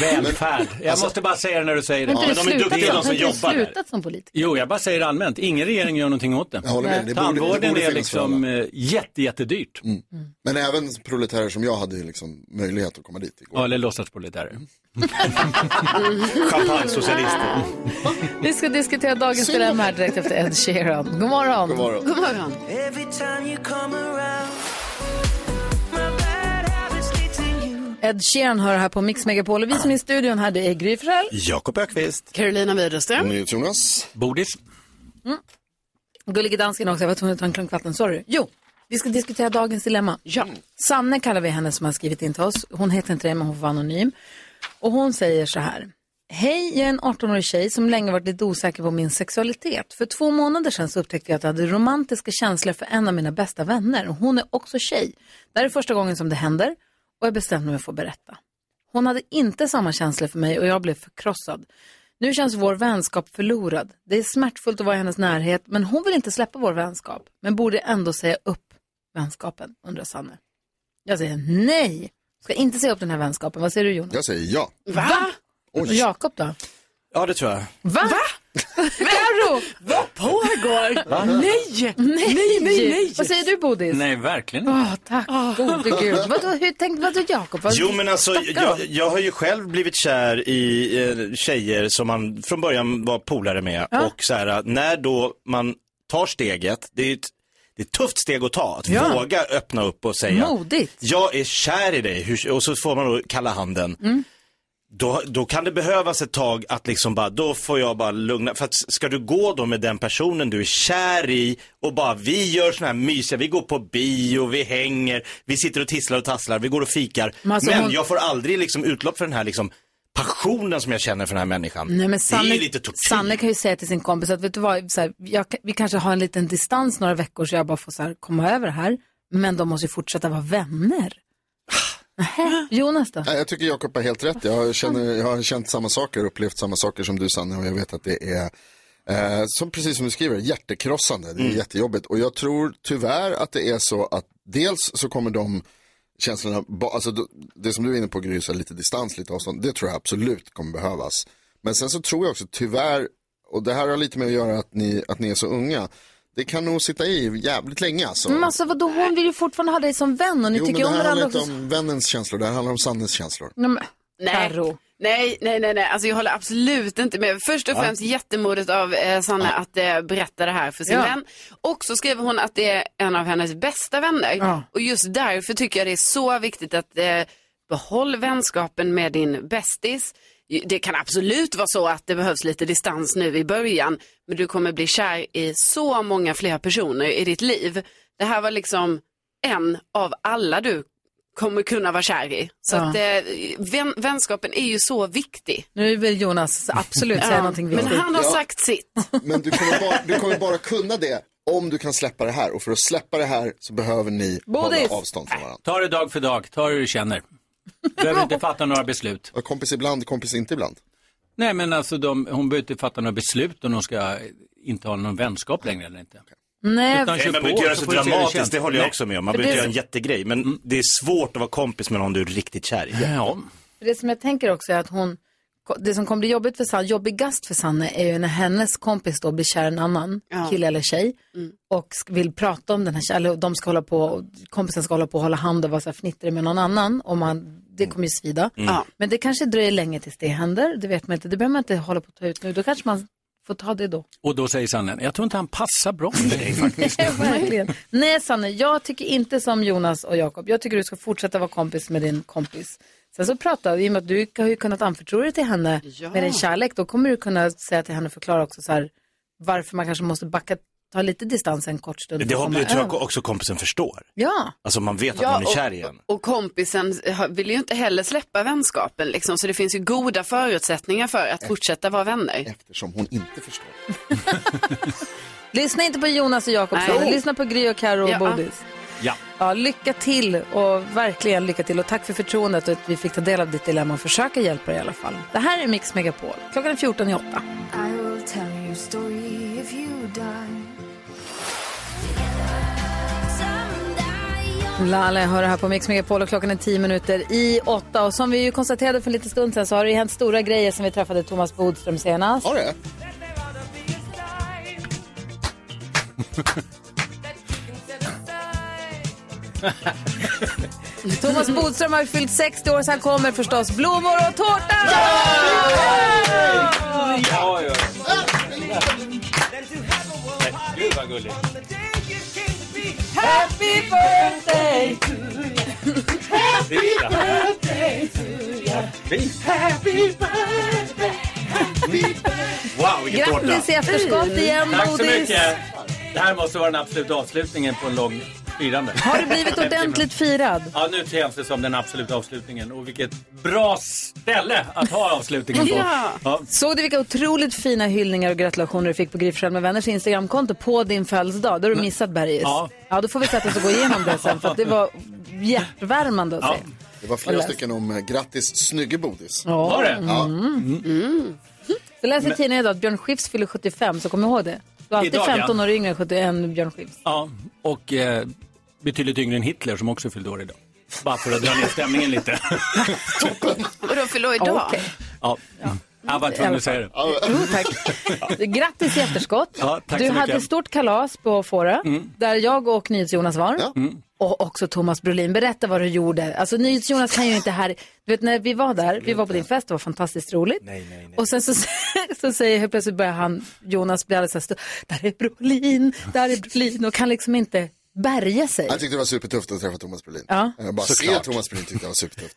B: Nej.
O: välfärd. Jag
B: Alltså-
O: måste bara säga det när du säger det.
A: Har inte du slutat, har inte du slutat som politiker?
O: Jo, jag bara säger allmänt. Ingen regering gör någonting åt det.
D: Jag håller med. Det borde- det
O: Tandvården
D: borde
O: är
D: finnas
O: liksom eh, jätte, jättedyrt.
D: Mm. Men även proletärer som jag hade ju liksom möjlighet att komma dit igår.
O: Ja, eller låtsasproletärer.
B: Champagne-socialister.
A: Vi ska diskutera dagens dilemma här direkt efter Ed Sheeran. God morgon.
D: God morgon.
A: God morgon.
M: Every time you come around
A: Ed Sheeran hör här på Mix Megapol och vi som är i studion här det är Gry Forssell.
B: Jakob Ökvist.
C: Carolina Widerström.
D: Jonas.
O: Bodis.
A: Gullige dansken också, jag var tvungen att ta en klunk vatten, sorry. Jo, vi ska diskutera dagens dilemma. Ja. Sanne kallar vi henne som har skrivit in till oss. Hon heter inte det, men hon får vara anonym. Och hon säger så här. Hej, jag är en 18-årig tjej som länge varit lite osäker på min sexualitet. För två månader sedan så upptäckte jag att jag hade romantiska känslor för en av mina bästa vänner. Och Hon är också tjej. Det här är första gången som det händer och jag bestämde mig för att berätta. Hon hade inte samma känslor för mig och jag blev förkrossad. Nu känns vår vänskap förlorad. Det är smärtfullt att vara i hennes närhet, men hon vill inte släppa vår vänskap. Men borde ändå säga upp vänskapen, undrar Sanne. Jag säger nej, ska inte säga upp den här vänskapen. Vad säger du Jonas?
D: Jag säger ja.
A: Va? Och Jakob då?
B: Ja, det tror jag.
A: Va? Carro!
C: Vad pågår?
O: Va?
C: Nej!
A: Nej,
C: nej, nej, nej.
A: Vad säger du Bodis?
O: Nej, verkligen inte.
A: Åh, tack gode gud. Vadå, hur tänkte, vadå Jakob? Vad-
B: Jo men alltså,
A: Stackarn.
B: jag, jag har ju själv blivit kär i eh, tjejer som man från början var polare med.
A: Ja.
B: Och så här, när då man tar steget, det är ju ett, det är ett tufft steg att ta, att
A: Ja.
B: våga öppna upp och säga
A: Modigt.
B: jag är kär i dig, Hur, och så får man då kalla handen.
A: Mm.
B: Då, då kan det behövas ett tag att liksom bara, då får jag bara lugna, för att ska du gå då med den personen du är kär i och bara vi gör såna här mysiga, vi går på bio, vi hänger, vi sitter och tisslar och tasslar, vi går och fikar.
A: Men
B: Men,
A: alltså hon-
B: jag får aldrig liksom utlopp för den här liksom passionen som jag känner för den här människan.
A: Nej, men Sanne,
B: det är ju lite tortyr.
A: Sanne kan ju säga till sin kompis att vet du vad, så här, jag, kan- vi kanske har en liten distans några veckor så jag bara får så här, komma över det här. Men de måste ju fortsätta vara vänner. Nähä, Jonas Typ då?
D: Nej, jag tycker Jakob har helt rätt. Jag, känner, jag har känt samma saker och upplevt samma saker som du Sanne och jag vet att det är eh, som precis som du skriver, hjärtekrossande. Det
A: Mm.
D: är jättejobbigt och jag tror tyvärr att det är så att dels så kommer de känslorna, ba- alltså d- det som du är inne på Gry, så här lite distans, lite avstånd, det tror jag absolut kommer behövas. Men sen så tror jag också tyvärr, och det här har lite med att göra att ni, att ni är så unga, det kan nog sitta i jävligt länge alltså.
A: Men alltså vadå, hon vill ju fortfarande ha dig som vän och ni
D: jo, men
A: tycker
D: det
A: om
D: här handlar
A: varandra
D: inte
A: också.
D: om vännens känslor, det här handlar om Sannes känslor.
A: Nej, men-
C: Nej. Nej, nej, nej, nej. Alltså jag håller absolut inte med. Först och
D: Va?
C: främst jättemodigt av eh, Sanna att eh, berätta det här för sin
A: Ja.
C: vän. Och så skriver hon att det är en av hennes bästa vänner.
A: Ja.
C: Och just därför tycker jag det är så viktigt att eh, behåll vänskapen med din bästis. Det kan absolut vara så att det behövs lite distans nu i början, men du kommer bli kär i så många fler personer i ditt liv. Det här var liksom en av alla du kommer kunna vara kär i. Så
A: Ja.
C: att, eh, vän, vänskapen är ju så viktig.
A: Nu vill Jonas
C: [LAUGHS]
A: absolut säga
C: Ja,
A: någonting
C: men
A: viktigt.
C: han har
D: Ja.
C: sagt sitt.
D: Men du kommer, bara, du kommer bara kunna det om du kan släppa det här. Och för att släppa det här så behöver ni
O: Bodis!
D: hålla avstånd från varandra.
O: Ta det dag för dag, ta det
D: [LAUGHS]
O: du känner. Du behöver inte fatta några beslut.
D: Kompis ibland, kompis inte ibland.
O: Nej men alltså de, hon behöver inte fatta några beslut om hon ska inte ha någon vänskap längre eller inte.
A: Nej,
O: Utan
B: Nej, man
O: kör på,
B: behöver inte göra
O: så
B: så
O: får du se hur det känns.
B: dramatiskt, det håller jag
O: Nej. Mm.
B: också med om. Man
A: För
B: behöver inte
A: det-
B: göra en jättegrej, men det är svårt att vara kompis med någon du är riktigt kär i.
O: Ja.
A: För det som jag tänker också är att hon, det som kommer bli jobbigt för Sanne, jobbigast för Sanne är ju när hennes kompis då blir kär i en annan
C: Ja.
A: kille eller tjej och sk- vill prata om den här kärleken, eller de ska hålla på, och kompisen ska hålla på och hålla hand och vara så här fnittrig med någon annan, och man, det kommer ju svida.
C: Mm. Ja.
A: Men det kanske dröjer länge tills det händer, det vet man inte, det behöver man inte hålla på att ta ut nu, då kanske man får ta det då.
O: Och då säger Sanne, jag tror inte han passar bra för [LAUGHS] dig
A: [LAUGHS]
O: faktiskt.
A: Verkligen. Nej Sanne, jag tycker inte som Jonas och Jakob. Jag tycker du ska fortsätta vara kompis med din kompis. Sen så pratar vi, i och med att du har ju kunnat anförtro dig till henne med din kärlek, då kommer du kunna säga till henne och förklara också så här, varför man kanske måste backa, ta lite distans en kort stund.
B: Det
A: och
B: har
A: komma
B: blivit, tror jag
A: över.
B: också kompisen förstår.
A: Ja.
B: Alltså man vet att
C: Ja,
B: man är
C: och-
B: kär i en.
C: Och kompisen har- vill ju inte heller släppa vänskapen liksom, så det finns ju goda förutsättningar för att fortsätta vara vänner.
D: Eftersom hon inte förstår.
A: Lyssna inte på Jonas och Jakob,
C: Nej.
A: Sanne. lyssna på Gry och Karo och
C: Ja.
A: Bodis.
O: Ja.
A: Ja, lycka till och verkligen lycka till och tack för förtroendet och att vi fick ta del av ditt dilemma och försöka hjälpa dig i alla fall. Det här är Mix Megapol, klockan är 14 i 8.
M: I will tell you a story if you die.
A: Lale hör det här på Mix Megapol och klockan är 10 minuter i åtta. Och som vi ju konstaterade för en liten stund sedan så har det ju hänt stora grejer sen vi träffade Thomas Bodström senast.
D: Har det?
A: [LAUGHS] Thomas Bodström har ju fyllt 60 år så här kommer förstås blommor och tårta!
O: Ja, ja. Gud vad gulligt.
A: Happy birthday!
O: Happy
M: birthday Happy birthday!
O: Wow, vilken tårta.
A: Grattis i efterskott igen,
O: Tack så
A: Bodis.
O: mycket. Det här måste vara den absoluta avslutningen på en lång firande.
A: Har du blivit ordentligt firad?
O: Ja, nu känns det som den absoluta avslutningen. Och vilket bra ställe att ha avslutningen på.
A: Ja. Såg du vilka otroligt fina hyllningar och gratulationer du fick på Gry Forssell med vänners Instagramkonto på din födelsedag? Då har du missat Bergis.
D: Ja.
A: ja, då får vi sätta oss och gå igenom det sen för att det var hjärtvärmande att se.
D: Det var
A: Och
D: flera
A: läs.
D: stycken om eh, grattis snygge bodis.
A: Ja. Mm. Var det?
D: Ja. Mm.
A: Så läser
D: Men-
A: tidningen idag att Björn Skifs fyller 75, så kom ihåg det. Du är alltid
O: Idag, ja.
A: 15 år yngre än 71 Björn Skifs.
O: Ja, och eh, betydligt yngre än Hitler som också fyllde år idag. Bara för att dra ner
A: [LAUGHS]
O: stämningen lite.
C: Och då fyller idag.
A: Okej.
O: Ja, jag var tvungen att säga det.
A: Jo, tack. Grattis i efterskott.
O: Ja, tack
A: du
O: så mycket. Mm.
A: hade stort kalas på Fårö, där jag och NyhetsJonas var. Och också Thomas Brolin. Berätta vad du gjorde. Alltså NyhetsJonas kan ju inte här... Du vet när vi var där, vi var på din fest, det var fantastiskt roligt. Och sen så, [LAUGHS] så säger helt plötsligt börjar han, Jonas blir alldeles så här, stor. där är Brolin, där är Brolin och kan liksom inte bärga sig.
D: Jag tyckte det var supertufft att träffa Thomas Brolin.
A: Ja.
D: Jag bara se
A: Såklart.
D: Thomas Brolin tyckte jag var supertufft.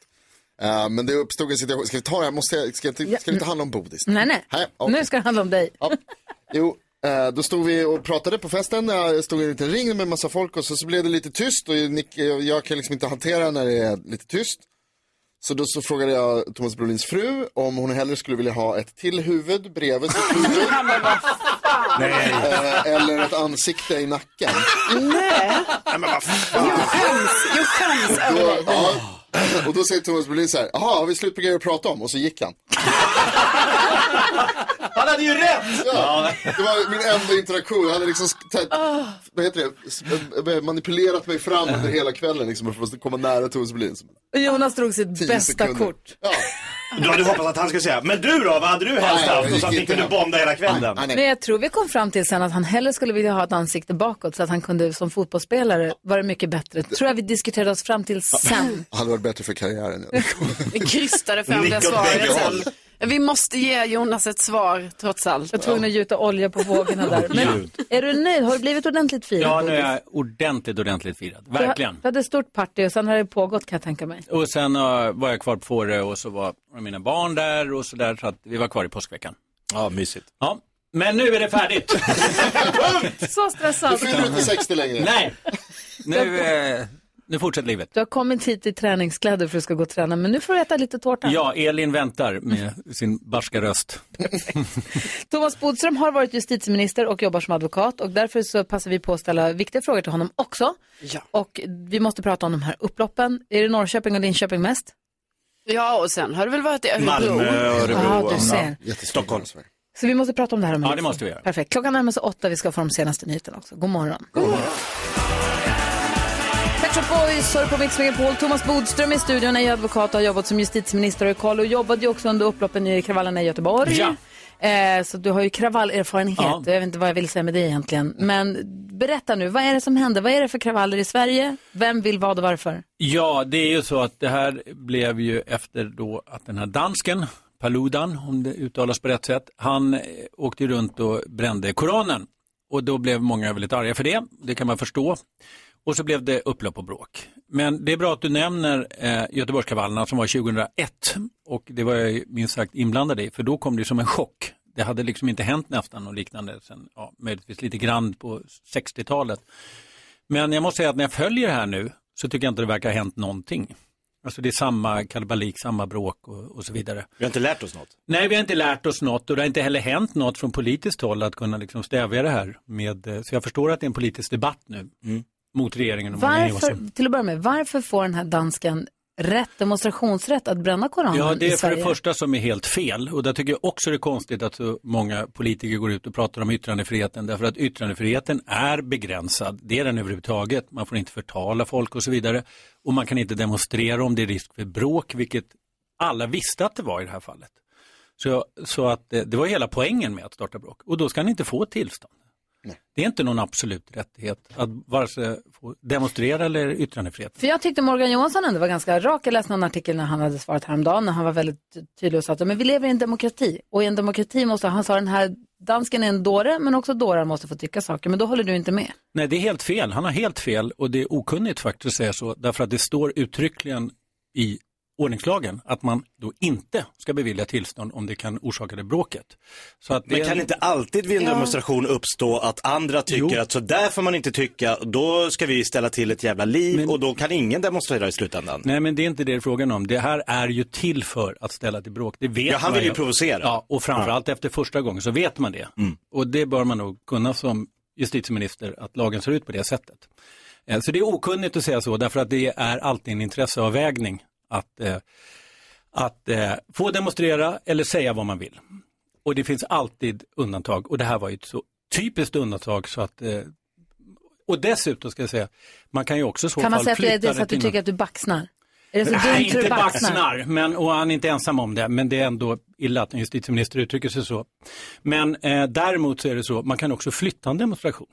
D: Eh, men det uppstod en situation, ska vi ta det här, måste jag, ska, jag, inte- ska det inte handla om bodis?
A: Nej, nej.
D: okej.
A: Nu ska det handla om dig.
D: Jo, eh, då stod vi och pratade på festen. Jag stod i en liten ring med massa folk och så, så blev det lite tyst och Nick, jag kan liksom inte hantera när det är lite tyst. Så då så frågade jag Thomas Brolins fru om hon hellre skulle vilja ha ett till huvud bredvid sitt huvud. Eh, Eller ett ansikte i nacken.
C: Nej.
D: Nej, men vad
C: Jo, skäms över
D: då,
C: dig.
D: ja. Och då säger Thomas Brolin så här, jaha, har vi slut på grejer att prata om? Och så gick han.
B: [LAUGHS] Han hade ju rätt!
D: Ja. Det var min enda interaktion. Han hade liksom sk- tä- vad heter det? S- eh, manipulerat mig fram under hela kvällen liksom, för att komma nära Thomas Brolin.
A: Och Jonas drog sitt
D: Tio
A: bästa
D: sekunder.
A: kort.
B: Du hade hoppats att han skulle säga, men du då, vad hade du helst
D: Nej, jag
B: haft? Och så att
D: gick
B: ni kunde
D: inte.
B: bonda hela kvällen.
A: Men jag tror vi kom fram till sen att han hellre skulle vilja ha ett ansikte bakåt så att han kunde som fotbollsspelare vara mycket bättre. tror jag vi diskuterade oss fram till sen.
D: Hade varit bättre för karriären.
C: Vi krystade fram det
D: Nick åt bägge
C: svaret
D: håll.
C: sen. Vi måste ge Jonas ett svar trots allt.
A: Jag var tvungen att gjuta olja på vågorna där. Men
O: Gud.
A: är du nöjd? Har du blivit ordentligt firad?
O: Ja, nu
A: Bodis?
O: är jag ordentligt, ordentligt firad.
A: Du har-
O: Verkligen.
A: Du hade ett stort party och sen har det pågått kan jag tänka mig.
O: Och sen eh, var jag kvar på Fårö och så var mina barn där och så där, så att vi var kvar i påskveckan.
B: Ja, mysigt.
O: Ja, men nu är
D: [LAUGHS]
O: det färdigt.
A: Så stressad.
D: Du fyller inte 60 längre.
O: Nej, nu, eh, nu fortsätter livet.
A: Du har kommit hit i träningskläder för att du ska gå och träna, men nu får du äta lite tårta.
O: Ja, Elin väntar med sin barska röst.
A: Thomas Bodström har varit justitieminister och jobbar som advokat och därför så passar vi på att ställa viktiga frågor till honom också. Och vi måste prata om de här upploppen. Är det Norrköping och Linköping mest?
C: Ja, och sen har det väl varit i Örebro.
B: Malmö, Örebro,
A: Ja, du ser.
B: Stockholm.
A: Så vi måste prata om det här om en
B: Ja, det
A: liten
B: måste
A: stund.
B: vi göra.
A: Perfekt. Klockan närmar sig åtta, vi ska få de senaste nyheterna också. God morgon. God morgon. Pet Shop Boys hör på Mix Megapol. Thomas Bodström i studion är ju advokat och har jobbat som justitieminister och är koll och jobbade ju också under upploppen i kravallerna i Göteborg.
O: Ja.
A: Eh, så du har ju kravallerfarenhet
O: Ja.
A: och jag vet inte vad jag vill säga med det egentligen. Men berätta nu, vad är det som hände? Vad är det för kravaller i Sverige? Vem vill vad och varför?
O: Ja, det är ju så att det här blev ju efter då att den här dansken, Paludan, om det uttalas på rätt sätt, han eh, åkte ju runt och brände Koranen. Och då blev många väldigt arga för det, det kan man förstå. Och så blev det upplopp och bråk. Men det är bra att du nämner eh, Göteborgskravallerna som var 2001 och det var jag ju minst sagt inblandad i, för då kom det som en chock. Det hade liksom inte hänt nästan och liknande, sen, ja, möjligtvis lite grann på 60-talet. Men jag måste säga att när jag följer det här nu så tycker jag inte det verkar ha hänt någonting. Alltså det är samma kalabalik, samma bråk och, och så vidare.
B: Vi har inte lärt oss något.
O: Nej, vi har inte lärt oss något och det har inte heller hänt något från politiskt håll att kunna liksom stävja det här. Med, eh, så jag förstår att det är en politisk debatt nu mot regeringen. och Morgan
A: Varför,
O: Johansson.
A: till att börja med, varför får den här dansken rätt, demonstrationsrätt att bränna Koranen
O: Ja, det
A: i
O: är för
A: Sverige?
O: det första som är helt fel och där tycker jag också det är konstigt att så många politiker går ut och pratar om yttrandefriheten därför att yttrandefriheten är begränsad. Det är den överhuvudtaget. Man får inte förtala folk och så vidare och man kan inte demonstrera om det är risk för bråk vilket alla visste att det var i det här fallet. Så, så att eh, det var hela poängen med att starta bråk och då ska ni inte få tillstånd. Det är inte någon absolut rättighet att vare sig få demonstrera eller yttrandefrihet.
A: För jag tyckte Morgan Johansson ändå var ganska rak. Jag läste någon artikel när han hade svarat häromdagen när han var väldigt ty- tydlig och sa att men vi lever i en demokrati och i en demokrati måste, han sa den här dansken är en dåre men också dårar måste få tycka saker. Men då håller du inte med.
O: Nej, det är helt fel. Han har helt fel och det är okunnigt faktiskt att säga så därför att det står uttryckligen i ordningslagen att man då inte ska bevilja tillstånd om det kan orsaka det bråket. Så att det
B: Men kan inte alltid vid en
O: Ja.
B: demonstration uppstå att andra tycker att så där får man inte tycka, då ska vi ställa till ett jävla liv och då kan ingen demonstrera i slutändan.
O: Nej, men det är inte det det är frågan om. Det här är ju till för att ställa till bråk. Det vet
B: Ja, han
O: man
B: vill ju provocera. Mm.
O: Ja, och framförallt efter första gången så vet man det. Och det bör man nog kunna som justitieminister, att lagen ser ut på det sättet. Eh, Så det är okunnigt att säga så, därför att det är alltid en intresseavvägning att, eh, att eh, få demonstrera eller säga vad man vill. Och det finns alltid undantag, och det här var ju ett så typiskt undantag så att eh, och dessutom ska jag säga, man kan ju också i så
A: Kan man
O: fall
A: säga att det är
O: flytta
A: det så att du
O: till någon-
A: tycker att du baxnar? Är det så
O: Nej,
A: dumt så
O: inte
A: du baxnar?
O: baxnar, men, och han är inte ensam om det, men det är ändå illa att en justitieminister uttrycker sig så. Men eh, däremot så är det så, man kan också flytta en demonstration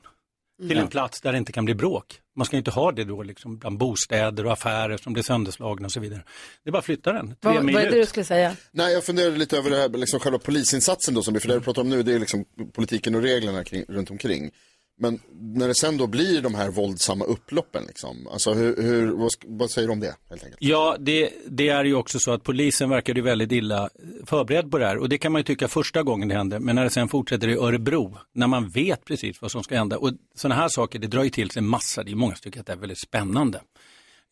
O: till
A: Mm.
F: Ja.
O: en plats där det inte kan bli bråk. Man ska ju inte ha det då liksom bland bostäder och affärer som blir sönderslagna och så vidare. Det är bara att flytta den, tre
A: Vad,
O: mil
A: vad är det du
O: ut.
A: skulle säga?
D: Nej, jag funderade lite över det här, liksom själva polisinsatsen då, som vi, för det du pratar om nu, det är liksom politiken och reglerna kring, runt omkring. Men när det sen då blir de här våldsamma upploppen, liksom, alltså hur, hur, vad, sk- vad säger du om det, helt enkelt?
O: Ja, det, det är ju också så att polisen verkar ju väldigt illa förberedd på det här och det kan man ju tycka första gången det händer, men när det sen fortsätter i Örebro, när man vet precis vad som ska hända och sådana här saker, det drar ju till sig massa, det är många som tycker att det är väldigt spännande.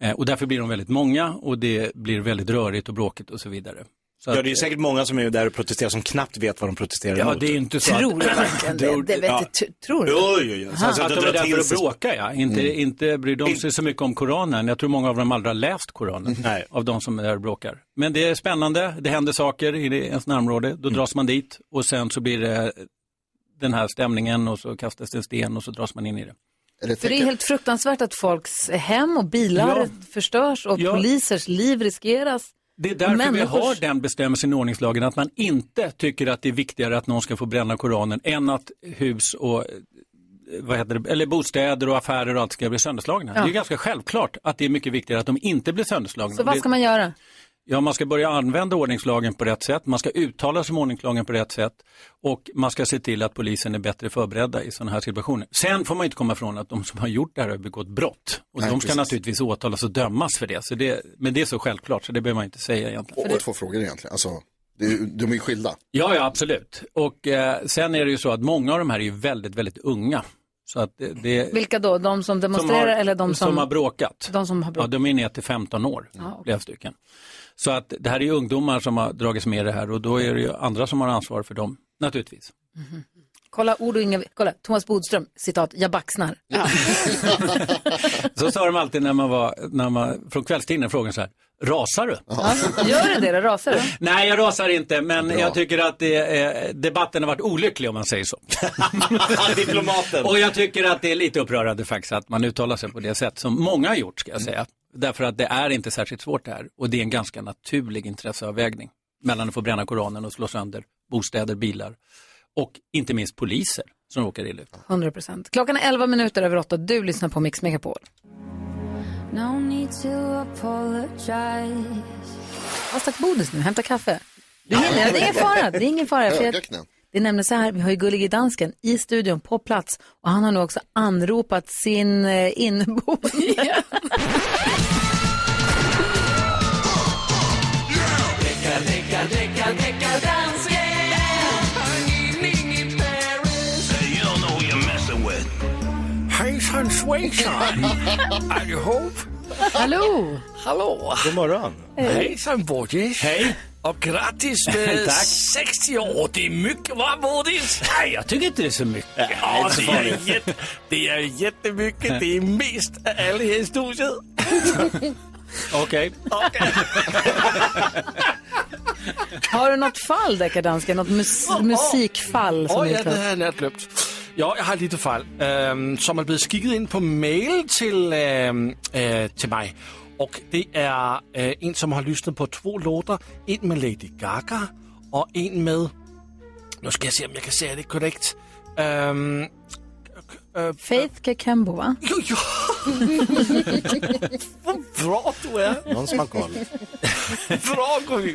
O: Eh, och därför blir de väldigt många och det blir väldigt rörigt och bråkigt och så vidare. Så
B: ja,
O: att-
B: det är ju säkert många som är där och protesterar som knappt vet vad de protesterar
O: Ja,
B: emot.
O: det är ju inte så att- Tror du verkligen det? Det vet jag, t-
A: tror
B: du? Jo, jo, jo. Så
O: Att de är där för att bråka, ja. Inte,
B: Mm.
O: inte bryr de sig så mycket om Koranen. Jag tror många av dem aldrig har läst Koranen, av de som är där och bråkar. Men det är spännande, det händer saker i det- ens närområde,
A: Mm.
O: då dras man dit och sen så blir det den här stämningen och så kastas det en sten och så dras man in i det.
A: För det är helt fruktansvärt att folks hem och bilar
O: Ja.
A: förstörs och
O: Ja.
A: polisers liv riskeras.
O: Det är därför vi
A: Människors-
O: har den bestämmelsen i ordningslagen att man inte tycker att det är viktigare att någon ska få bränna Koranen än att hus och eh, vad heter det, eller bostäder och affärer och allt ska bli sönderslagna.
A: Ja.
O: Det är ganska självklart att det är mycket viktigare att de inte blir sönderslagna.
A: Så vad
O: Det-
A: ska man göra?
O: Ja, man ska börja använda ordningslagen på rätt sätt, man ska uttala sig om ordningslagen på rätt sätt och man ska se till att polisen är bättre förberedda i sådana här situationer. Sen får man inte komma ifrån att de som har gjort det här har begått brott och
D: Nej,
O: de ska
D: precis.
O: naturligtvis åtalas och dömas för det. Så det. Men det är så självklart, så det behöver man inte säga egentligen.
D: Och, och två frågor egentligen. Alltså, det är, ju- de är ju skilda.
O: Ja, ja absolut. Och eh, sen är det ju så att många av de här är ju väldigt, väldigt unga. Så att det, det,
A: Vilka då? De som demonstrerar
O: har-
A: eller de som...
O: har bråkat?
A: De som har bråkat.
O: Ja, de är ner till 15 år,
A: Ja, okej.
O: flera stycken. Så att det här är ju ungdomar som har dragits med i det här och då är det ju andra som har ansvar för dem, naturligtvis.
A: Kolla ord och inga... Kolla, Thomas Bodström, citat, jag baxnar.
O: Så sa de alltid när man var, när man, från kvällstidningen, frågan så här, rasar du?
A: Gör det det då? Rasar du?
O: Nej, jag rasar inte, men jag tycker att det, eh, debatten har varit olycklig om man säger så.
B: Diplomaten.
O: Och jag tycker att det är lite upprörande faktiskt att man uttalar sig på det sätt som många har gjort, ska jag säga. Därför att det är inte särskilt svårt det här och det är en ganska naturlig intresseavvägning mellan att få bränna Koranen och slå sönder bostäder, bilar och inte minst poliser som råkar illa ut.
A: 100 procent. Klockan är 11 minuter över 8. Du lyssnar på Mix Megapol.
M: No need to apologize.
A: Vad stack Bodis nu? Hämta kaffe. Du hinner, det är ingen fara. Det är ingen fara. För jag, det är nämligen så här, vi har ju Gullige Dansken i studion på plats och han har nu också anropat sin eh, inneboende.
F: Hejsan svejsan allihop!
A: Hallå!
F: Hallå!
B: God morgon!
F: Hejsan Bodis! Hej! Och grattis
O: [LAUGHS]
F: med
O: Tack.
F: 60 Eh, år! Det är mycket va Bodis?
O: Nej, jag tycker inte det är så mycket.
F: Ja, det, är jätte, det är jättemycket. Det är mest av alla här
O: [LAUGHS]
F: i studion.
O: Okej.
A: Har du något fall, Deckardansken? Något mus musikfall som
F: Åh
A: du
F: ja, det
A: klart?
F: har jeg nært løbt. Jo, jeg har et lille fejl, øhm, som er blevet skikket ind på mail til, øhm, øh, til mig. Og det er øh, en, som har lyttet på to låter. En med Lady Gaga, og en med... Nu skal jeg se, om jeg kan sige det korrekt. Øhm,
A: eh,
F: øh,
A: Faith Kekembo, va?
F: Jo,
A: [LAUGHS]
F: jo. Hvor bra du er.
A: Någon som har
F: [LAUGHS]
A: koll.
F: bra, Gry.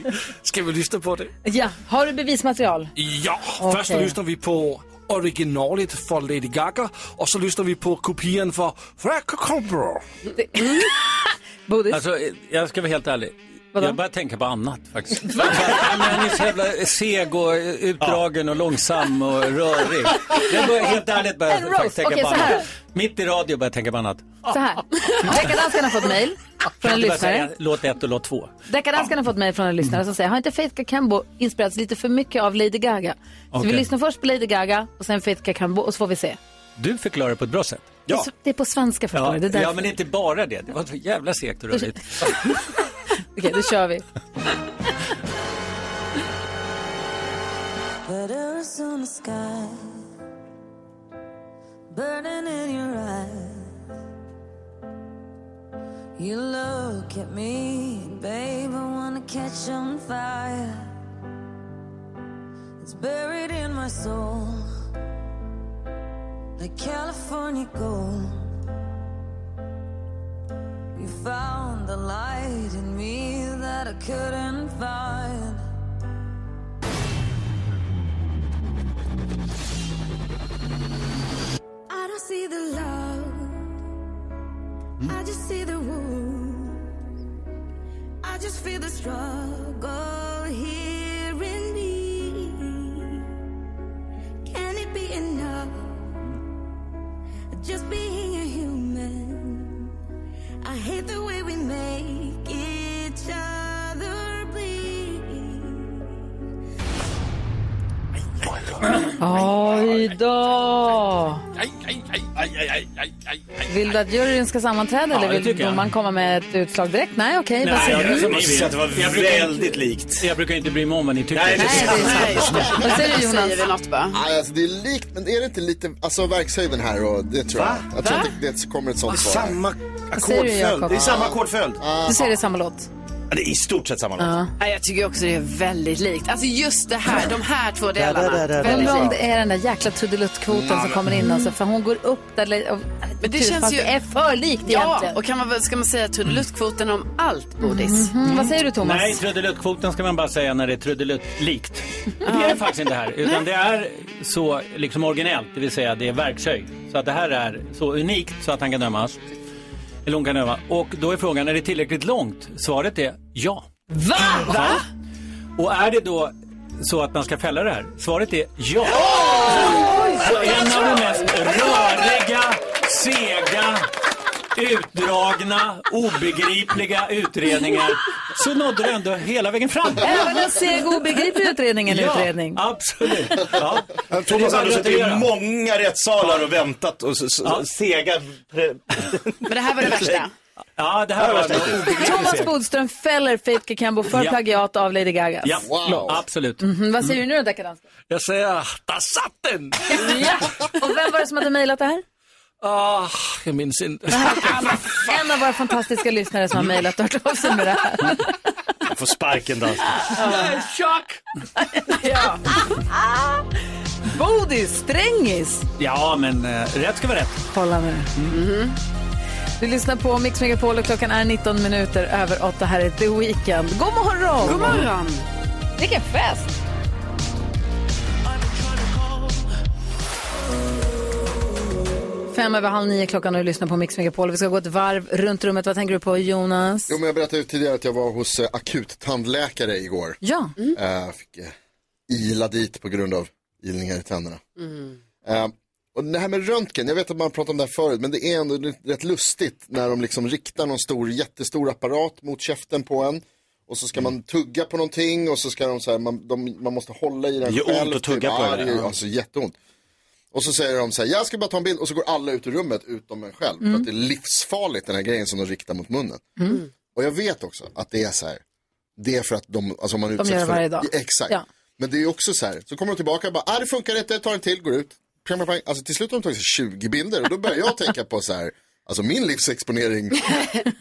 F: Skal vi lytte på det?
A: Ja, har du bevismaterial?
F: Ja,
A: Okay.
F: først lytter vi på originalet for Lady Gaga, og så lytter vi på kopien for Frank Cobra.
A: Mm. Bodis?
O: Alltså, eh, jag ska vara helt ärlig. Jag börjar tänka på annat
A: [LAUGHS]
O: faktiskt.
F: Va?
O: Nej, men Han är så jävla seg och eh, utdragen och långsam och rörig. Jag börjar helt ärligt börjar
A: En roast.
O: faktiskt tänka
A: Okej,
O: på
A: så här.
O: annat. Mitt i radio börjar jag tänka på annat.
A: Så här. Deckardansken har fått mejl från en
O: Jag börjar säga
A: lyssnare.
O: Låt ett och låt två.
A: Deckardansken har fått mejl från en lyssnare som säger, har inte Faith Kakembo inspirerats lite för mycket av Lady Gaga? Så vi
O: Okej.
A: lyssnar först på Lady Gaga och sen Faith Kakembo och så får vi se.
O: Du förklarar det på ett bra sätt.
A: Det, är så, det är på svenska förstår
O: Ja,
A: du. Det är därför.
O: ja, men inte bara det. Det var så jävla segt och rörigt.
A: Okej, då kör vi.
M: But Arizona sky burning in your eyes. You look at me, babe. I wanna catch on fire. It's buried in my soul like California gold. You found the light in me that I couldn't find. I don't see the love. I just see the wound. I just feel the struggle here in me. Can it be enough? Just being a human. I hate the way we make each other bleed.
A: Oj då!
F: Ej, ej, ej, ej, ej, ej, ej, ej, ej.
A: Vill du att juryn ska sammanträda
F: Ja, det
A: eller vill
F: tycker jag.
A: domaren komma med ett utslag direkt? Nej, okej. vad
O: Nej,
A: säger
O: jag-
A: du?
O: jag måste säga att det var
B: Jag brukar inte-
O: likt. Jag brukar inte bry mig om vad ni tycker. Nej,
A: Vad säger du, Jonas?
C: Säger vi något bara?
D: Nej, alltså det är likt, men är det inte lite, alltså verkshöjden här och det tror
C: Va?
D: jag. Jag tror
C: Va?
D: att det, det kommer ett sånt
C: Det är
D: svar.
C: samma
D: här.
A: Vad säger du, ackordföljd. Jakob? Det är samma
D: ackordföljd.
A: Du säger det är samma låt?
B: Det är I stort sett samma låt.
C: Ja, jag tycker också det är väldigt likt. Alltså just det här, de
A: [LAUGHS]
C: här två delarna.
B: Där, där, där, där.
C: Väldigt
A: Undrar om
C: likt.
A: det är den där Typ, jäkla trudeluttkvoten
C: Ja,
A: som
C: men-
A: kommer in alltså, för hon går upp där. Typ, le- Och,
C: Men det
A: Tur,
C: känns
A: fast
C: ju...
A: det är för likt
C: ja,
A: egentligen. Mm.
C: och kan man, väl- ska man säga trudeluttkvoten om allt bodis?
A: Mm-hmm. Vad säger du Thomas?
O: Nej, trudeluttkvoten ska man bara säga när det är trudelutt-likt. Och Det är det faktiskt inte här, utan det är så liksom originellt, det vill säga det är verkshöjd. Så att det här är så unikt så att han kan dömas. Eller hon kan döma. Och då är frågan, är det tillräckligt långt? Svaret är ja.
A: Va?
O: Va? Och är det då så att man ska fälla det här? Svaret är ja. Så en av de mest röriga, sega, utdragna, obegripliga utredningar så nådde det ändå hela vägen fram.
A: Även en seg och obegriplig utredning är en
O: Ja,
A: utredning.
O: Absolut. Ja.
B: Thomas
O: bara att
B: Anders har suttit i
O: gratulera.
B: många rättssalar och väntat och s- s- sega...
C: Men det här var det
B: [LAUGHS]
C: värsta.
O: Ja, det här var
B: värsta.
A: Thomas Bodström fäller Faith Cambo för
O: Ja.
A: plagiat av Lady Gaga.
O: Ja, Mm. absolut.
F: Mm.
A: Mhm, vad säger du nu då, dekadans?
O: Jag säger, där satt den!
A: Ja. Och vem var det som hade mejlat det här?
O: Ah, jag minns
F: [LAUGHS]
O: inte.
A: En av våra fantastiska lyssnare som har mejlat och hört av sig med det här.
B: Jag får sparken då.
A: Chock! ja. Bodis, strängis.
O: Ja, men eh, rätt ska vara rätt.
A: Kolla nu.
O: Mhm.
A: Du lyssnar på Mix Megapol och klockan är 19 minuter över 8. Här är The Weeknd. God morgon!
C: God morgon!
A: Vilken fest! Fem över halv nio klockan och du lyssnar på Mix Megapol. Vi ska gå ett varv runt rummet. Vad tänker du på Jonas?
D: Jo, men jag berättade ju tidigare att jag var hos eh, akuttandläkare igår.
A: Ja.
D: Eh, fick eh, ila dit på grund av ilningar i tänderna.
C: Mm.
D: Eh, och det här med röntgen, jag vet att man pratat om det här förut, men det är ändå rätt lustigt när de liksom riktar någon stor, jättestor apparat mot käften på en. Och så ska
B: Mm.
D: man tugga på någonting och så ska de så här, man, de, man måste hålla i den
B: Det gör ont att tugga på
D: ja,
B: det
D: det.
B: där.
D: gör Alltså jätteont. Och så säger de så här, jag ska bara ta en bild och så går alla ut ur rummet utom en själv.
A: Mm.
D: För att det är livsfarligt den här grejen som de riktar mot munnen.
A: Mm.
D: Och jag vet också att det är så här, det är för att de, alltså man
A: De
D: utsätts
A: gör det
D: för
A: varje dag.
D: Exakt.
A: Ja.
D: Men det är ju också så här, så kommer de tillbaka och bara, ah, det funkar inte, tar en till, går ut. Pang, pang, pang. Alltså till slut har de tagit sig 20 bilder och då börjar jag tänka på så här, alltså
A: [LAUGHS]
D: min livsexponering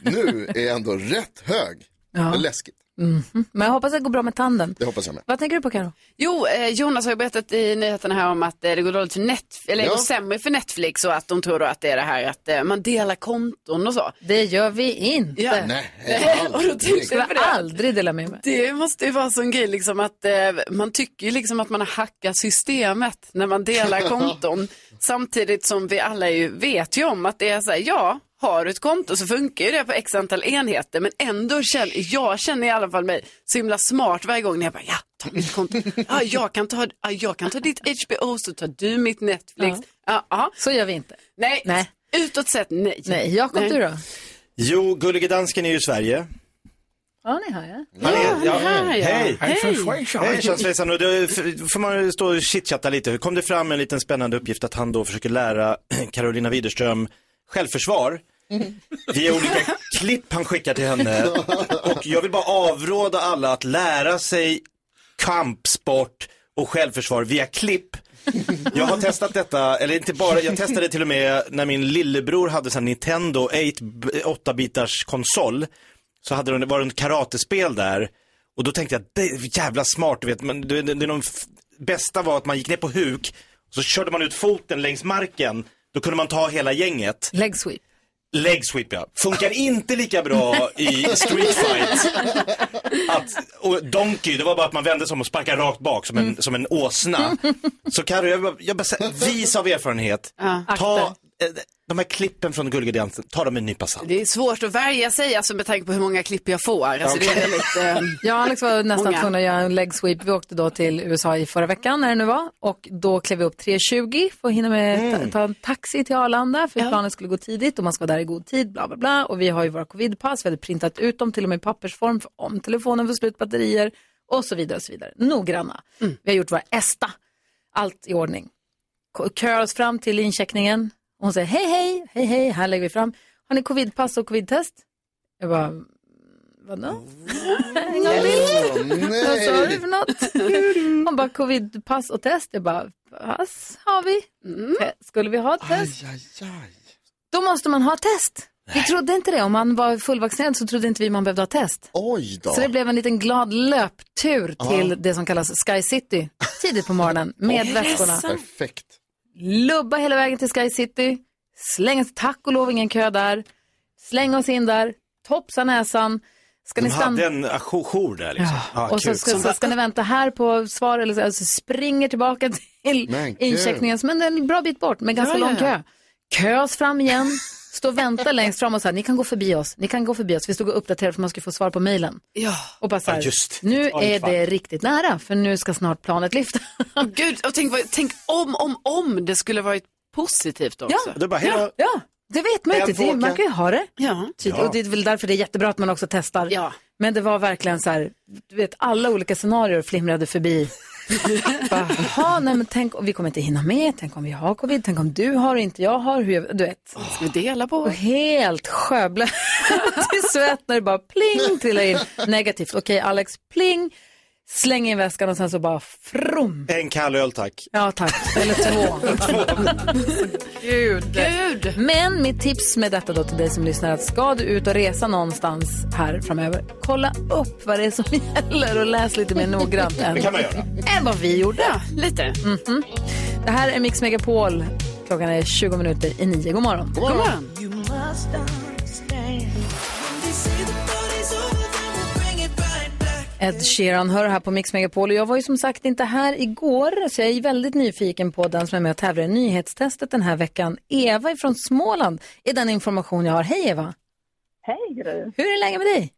D: nu är ändå rätt hög.
A: Ja.
D: Det är läskigt,
A: Mhm. Men jag hoppas att det går bra med tanden.
D: det hoppas jag med.
A: Vad tänker du på Karo?
C: Jo, eh, Jonas har ju berättat i nyheterna här om att eh, det går dåligt för Netflix, eller det
A: Ja.
C: går sämre för Netflix och att de tror då att det är det här att eh, man delar konton och så.
A: Det gör vi inte.
C: Ja. [LAUGHS] och då tänkte jag på
A: jag
C: det.
A: aldrig dela med mig.
C: Det måste ju vara en sån grej liksom att eh, man tycker ju liksom att man har hackat systemet när man delar konton. Samtidigt som vi alla ju vet ju om att det är så här, ja, har du ett konto så funkar ju det på x antal enheter men ändå känner, jag känner i alla fall mig så himla smart varje gång när jag bara, ja, ta mitt konto, ja, jag, kan ta, ja, jag kan ta ditt HBO så tar du mitt Netflix. Ja.
A: Så gör vi inte.
C: Nej, utåt sett nej.
A: Nej, Jakob du då?
B: Jo, Gullige Dansken är ju i Sverige.
A: Ja, ni hör jag.
B: Han är- ja,
A: här, ja.
B: Hej!
A: Hej,
B: Hej,
A: tjejsvejsan.
B: Hej tjejsvejsan. Och då f- får man stå och chitchatta lite. Hur kom det fram en liten spännande uppgift att han då försöker lära [CLEARS THROAT] Carolina Widerström självförsvar via olika klipp han skickar till henne. Och jag vill bara avråda alla att lära sig kampsport och självförsvar via klipp. [LAUGHS] Jag har testat detta, eller inte bara, jag testade till och med när min lillebror hade sån Nintendo 8-bitars konsol. Så hade de, var det en karatespel där. Och då tänkte jag, det är jävla smart, du vet, men det, det, det är någon f- bästa var att man gick ner på huk, och så körde man ut foten längs marken, då kunde man ta hela gänget.
A: Leg sweep.
B: Leg sweep ja. Funkar inte lika bra i
A: [LAUGHS]
B: street fight. Att, och donkey, det var bara att man vände sig om och sparkade rakt bak som en,
A: Mm.
B: som en åsna. Så Carro, jag, bara- jag bara säger, vis av erfarenhet, ta eh, de här klippen från Gullige Dansen, ta dem med en nypa salt.
C: Det är svårt att värja sig alltså, med tanke på hur många klipp jag får. Alltså, det är väldigt, eh,
A: [LAUGHS] Jag och Alex var nästan
C: Många.
A: tvungna att göra en leg sweep. Vi åkte då till USA i förra veckan när det nu var och då klev vi upp 3.20 för att hinna med ta, ta en taxi till Arlanda för planet skulle gå tidigt och man ska vara där i god tid, bla bla bla. Och vi har ju våra covidpass, vi hade printat ut dem till och med i pappersform för om telefonen får slut batterier och så vidare och så vidare. Noggranna. Vi har gjort våra ESTA, allt i ordning. K- Kör oss fram till incheckningen och hon säger hej hej, hej hej, här lägger vi fram. Har ni covidpass och covidtest? Jag bara, vadå? En gång till.
M: nej.
A: Vad sa du för något? Hon bara, covidpass och test. Jag bara, pass har vi. Te- Skulle vi ha ett test? Då Mm. måste man ha ett test. Vi trodde inte det. Om man var fullvaccinerad så trodde inte vi man behövde ha test.
D: Oj då.
A: Så det blev en liten glad löptur
D: Ja.
A: till det som kallas Sky City tidigt på morgonen med väskorna.
D: Perfekt.
A: Lubba hela vägen till Sky City, slänga, tack och lov ingen kö där, slänga oss in där, topsa näsan. Ska
B: De
A: ni stanna?
B: hade en ajour jour där liksom. Ja,
A: Och så
B: kul.
A: ska, så ska ni vänta här på svar eller så, alltså springer tillbaka till
B: Men kul.
A: incheckningen. Men det är en bra bit bort, men ganska
B: Ja, ja,
A: lång
B: ja.
A: kö. Kös fram igen, stå och vänta längst fram och så här, ni kan gå förbi oss, ni kan gå förbi oss. Vi stod och uppdaterade för man skulle få svar på mejlen.
C: Ja.
A: Och bara så här,
C: Ja, just det.
A: nu
C: Ja,
A: är
C: fan.
A: det riktigt nära, för nu ska snart planet lyfta. [LAUGHS]
C: Gud, och tänk, vad- tänk om, om, om det skulle varit positivt också.
A: Ja, ja, ja, det vet man ju
C: En
A: inte. Det,
C: våka.
A: man kan ju ha det.
C: Ja.
A: Tydligt.
C: Ja.
A: Och det är väl därför det är jättebra att man också testar. Men det var verkligen så här, du vet alla olika scenarier flimrade förbi. Bara, Jaha, nej men tänk om vi kommer inte hinna med, tänk om vi har covid, tänk om du har och inte jag har, hur jag, du vet.
C: Ska vi dela på?
A: Och helt sjöblöt [LAUGHS] i svett när det bara pling trillar in negativt. Okej Alex, pling, släng in väskan och sen så bara frum.
B: En kall öl tack.
A: Ja tack, eller
C: [LAUGHS]
A: två. Gud. Men mitt tips med detta då till dig som lyssnar är att ska du ut och resa någonstans här framöver, kolla upp vad det är som [LAUGHS] gäller och läs lite mer noggrant än,
C: Det kan man göra.
A: än vad vi gjorde.
C: lite.
A: Mhm. Det här är Mix Megapol. Klockan är 20 minuter i nio. God morgon.
C: God morgon.
M: You must understand.
A: Ed Sheeran hör här på Mix Megapol och jag var ju som sagt inte här igår så jag är väldigt nyfiken på den som är med och tävlar i nyhetstestet den här veckan. Eva från Småland är den information jag har. Hej Eva!
P: Hej Gry.
A: Hur är läget med dig?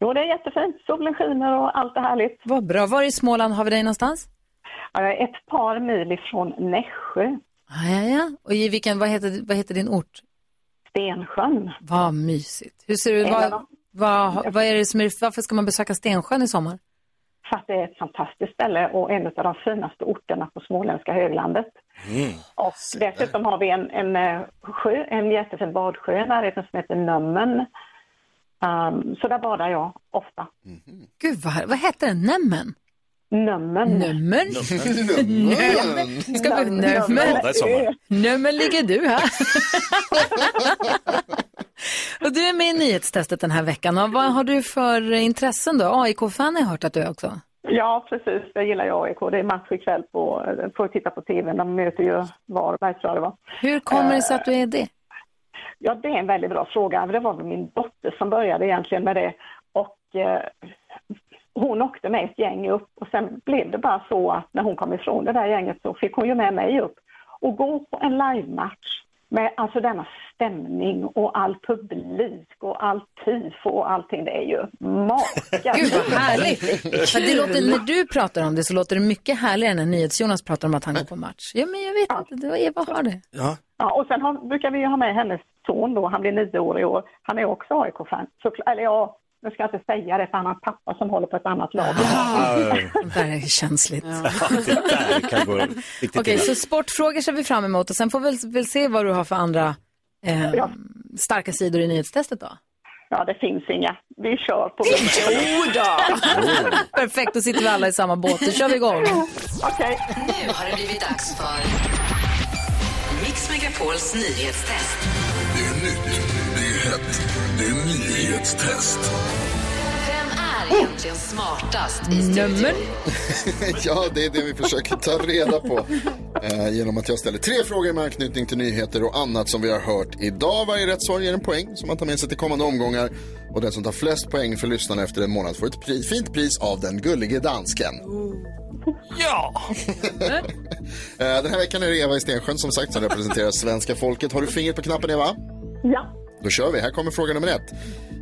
P: Jo, det är jättefint. Solen skiner och allt är härligt.
A: Vad bra. Var i Småland har vi dig någonstans?
P: Ja, Jag är ett par mil ifrån Nässjö,
A: Ja, ja, ja. Och i vilken, vad heter, vad heter din ort?
P: Stensjön.
A: Vad mysigt. Hur ser du,
P: En av
A: vad,
P: dem.
A: vad, vad är det som är, varför ska man besöka Stensjön i sommar?
P: För att det är ett fantastiskt ställe och en av de finaste orterna på småländska höglandet. Och dessutom har vi en, en, eh, sjö, en jättefin badsjö i närheten som heter Nömmen. Ehm, så där badar jag ofta.
A: Gud, vad, vad heter den? Nämmen?
P: Nömmen.
A: Nummer? Nummer? Ska vi, nummer?
P: Ja, det är sommar.
A: Nummer ligger du här. [LAUGHS] och du är med i nyhetstestet den här veckan. Och vad har du för intressen då? AIK-fan har jag hört att du är också.
P: Ja, precis. Jag gillar ju AIK. Det är match ikväll på, får titta på tv. De möter ju Varberg tror jag det var. Eh,
A: Hur kommer det sig att du är det?
P: Ja, det är en väldigt bra fråga. Det var väl min dotter som började egentligen med det. Och eh, hon åkte med ett gäng upp och sen blev det bara så att när hon kom ifrån det där gänget så fick hon ju med mig upp och gå på en livematch med alltså denna stämning och all publik och all tifo och allting. Det är ju makalöst.
A: Gud vad
D: [LAUGHS]
A: härligt. Men det låter, när du pratar om det så låter det mycket härligare än när NyhetsJonas pratar om att han går på match. Ja, men jag vet inte. Det var Eva har det.
B: Ja.
P: Ja, och sen har, brukar vi ju ha med hennes son då, han blir nio år i år. Han är också AIK-fan. Så, eller ja, nu ska jag inte säga det för han har en pappa som håller på ett annat lag.
B: Ah.
A: Det där är känsligt.
B: [LAUGHS] Riktigt
A: Okej,
B: illa.
A: så sportfrågor ser vi fram emot och sen får vi väl- väl se vad du har för andra eh, starka sidor i nyhetstestet då.
P: Ja, det finns inga. Vi kör på
A: [LAUGHS] Perfekt, då sitter vi alla i samma båt. Då kör vi igång.
P: Okej.
G: Nu har det blivit dags för Mix Megapols nyhetstest.
Q: Det är nytt, det är hett, det är nyhetstest.
G: Vem är egentligen smartast i studion?
D: [LAUGHS] ja, det är det vi försöker ta reda på eh, genom att jag ställer tre frågor med anknytning till nyheter och annat som vi har hört idag. Varje rätt svar ger en poäng som man tar med sig till kommande omgångar och den som tar flest poäng för lyssnarna efter en månad får ett pri- fint pris av den gullige dansken.
R: Ja!
D: Eh, den här veckan är det Eva i Stensjön som sagt som representerar svenska folket. Har du fingret på knappen Eva?
P: Ja.
D: Då kör vi. Här kommer fråga nummer ett.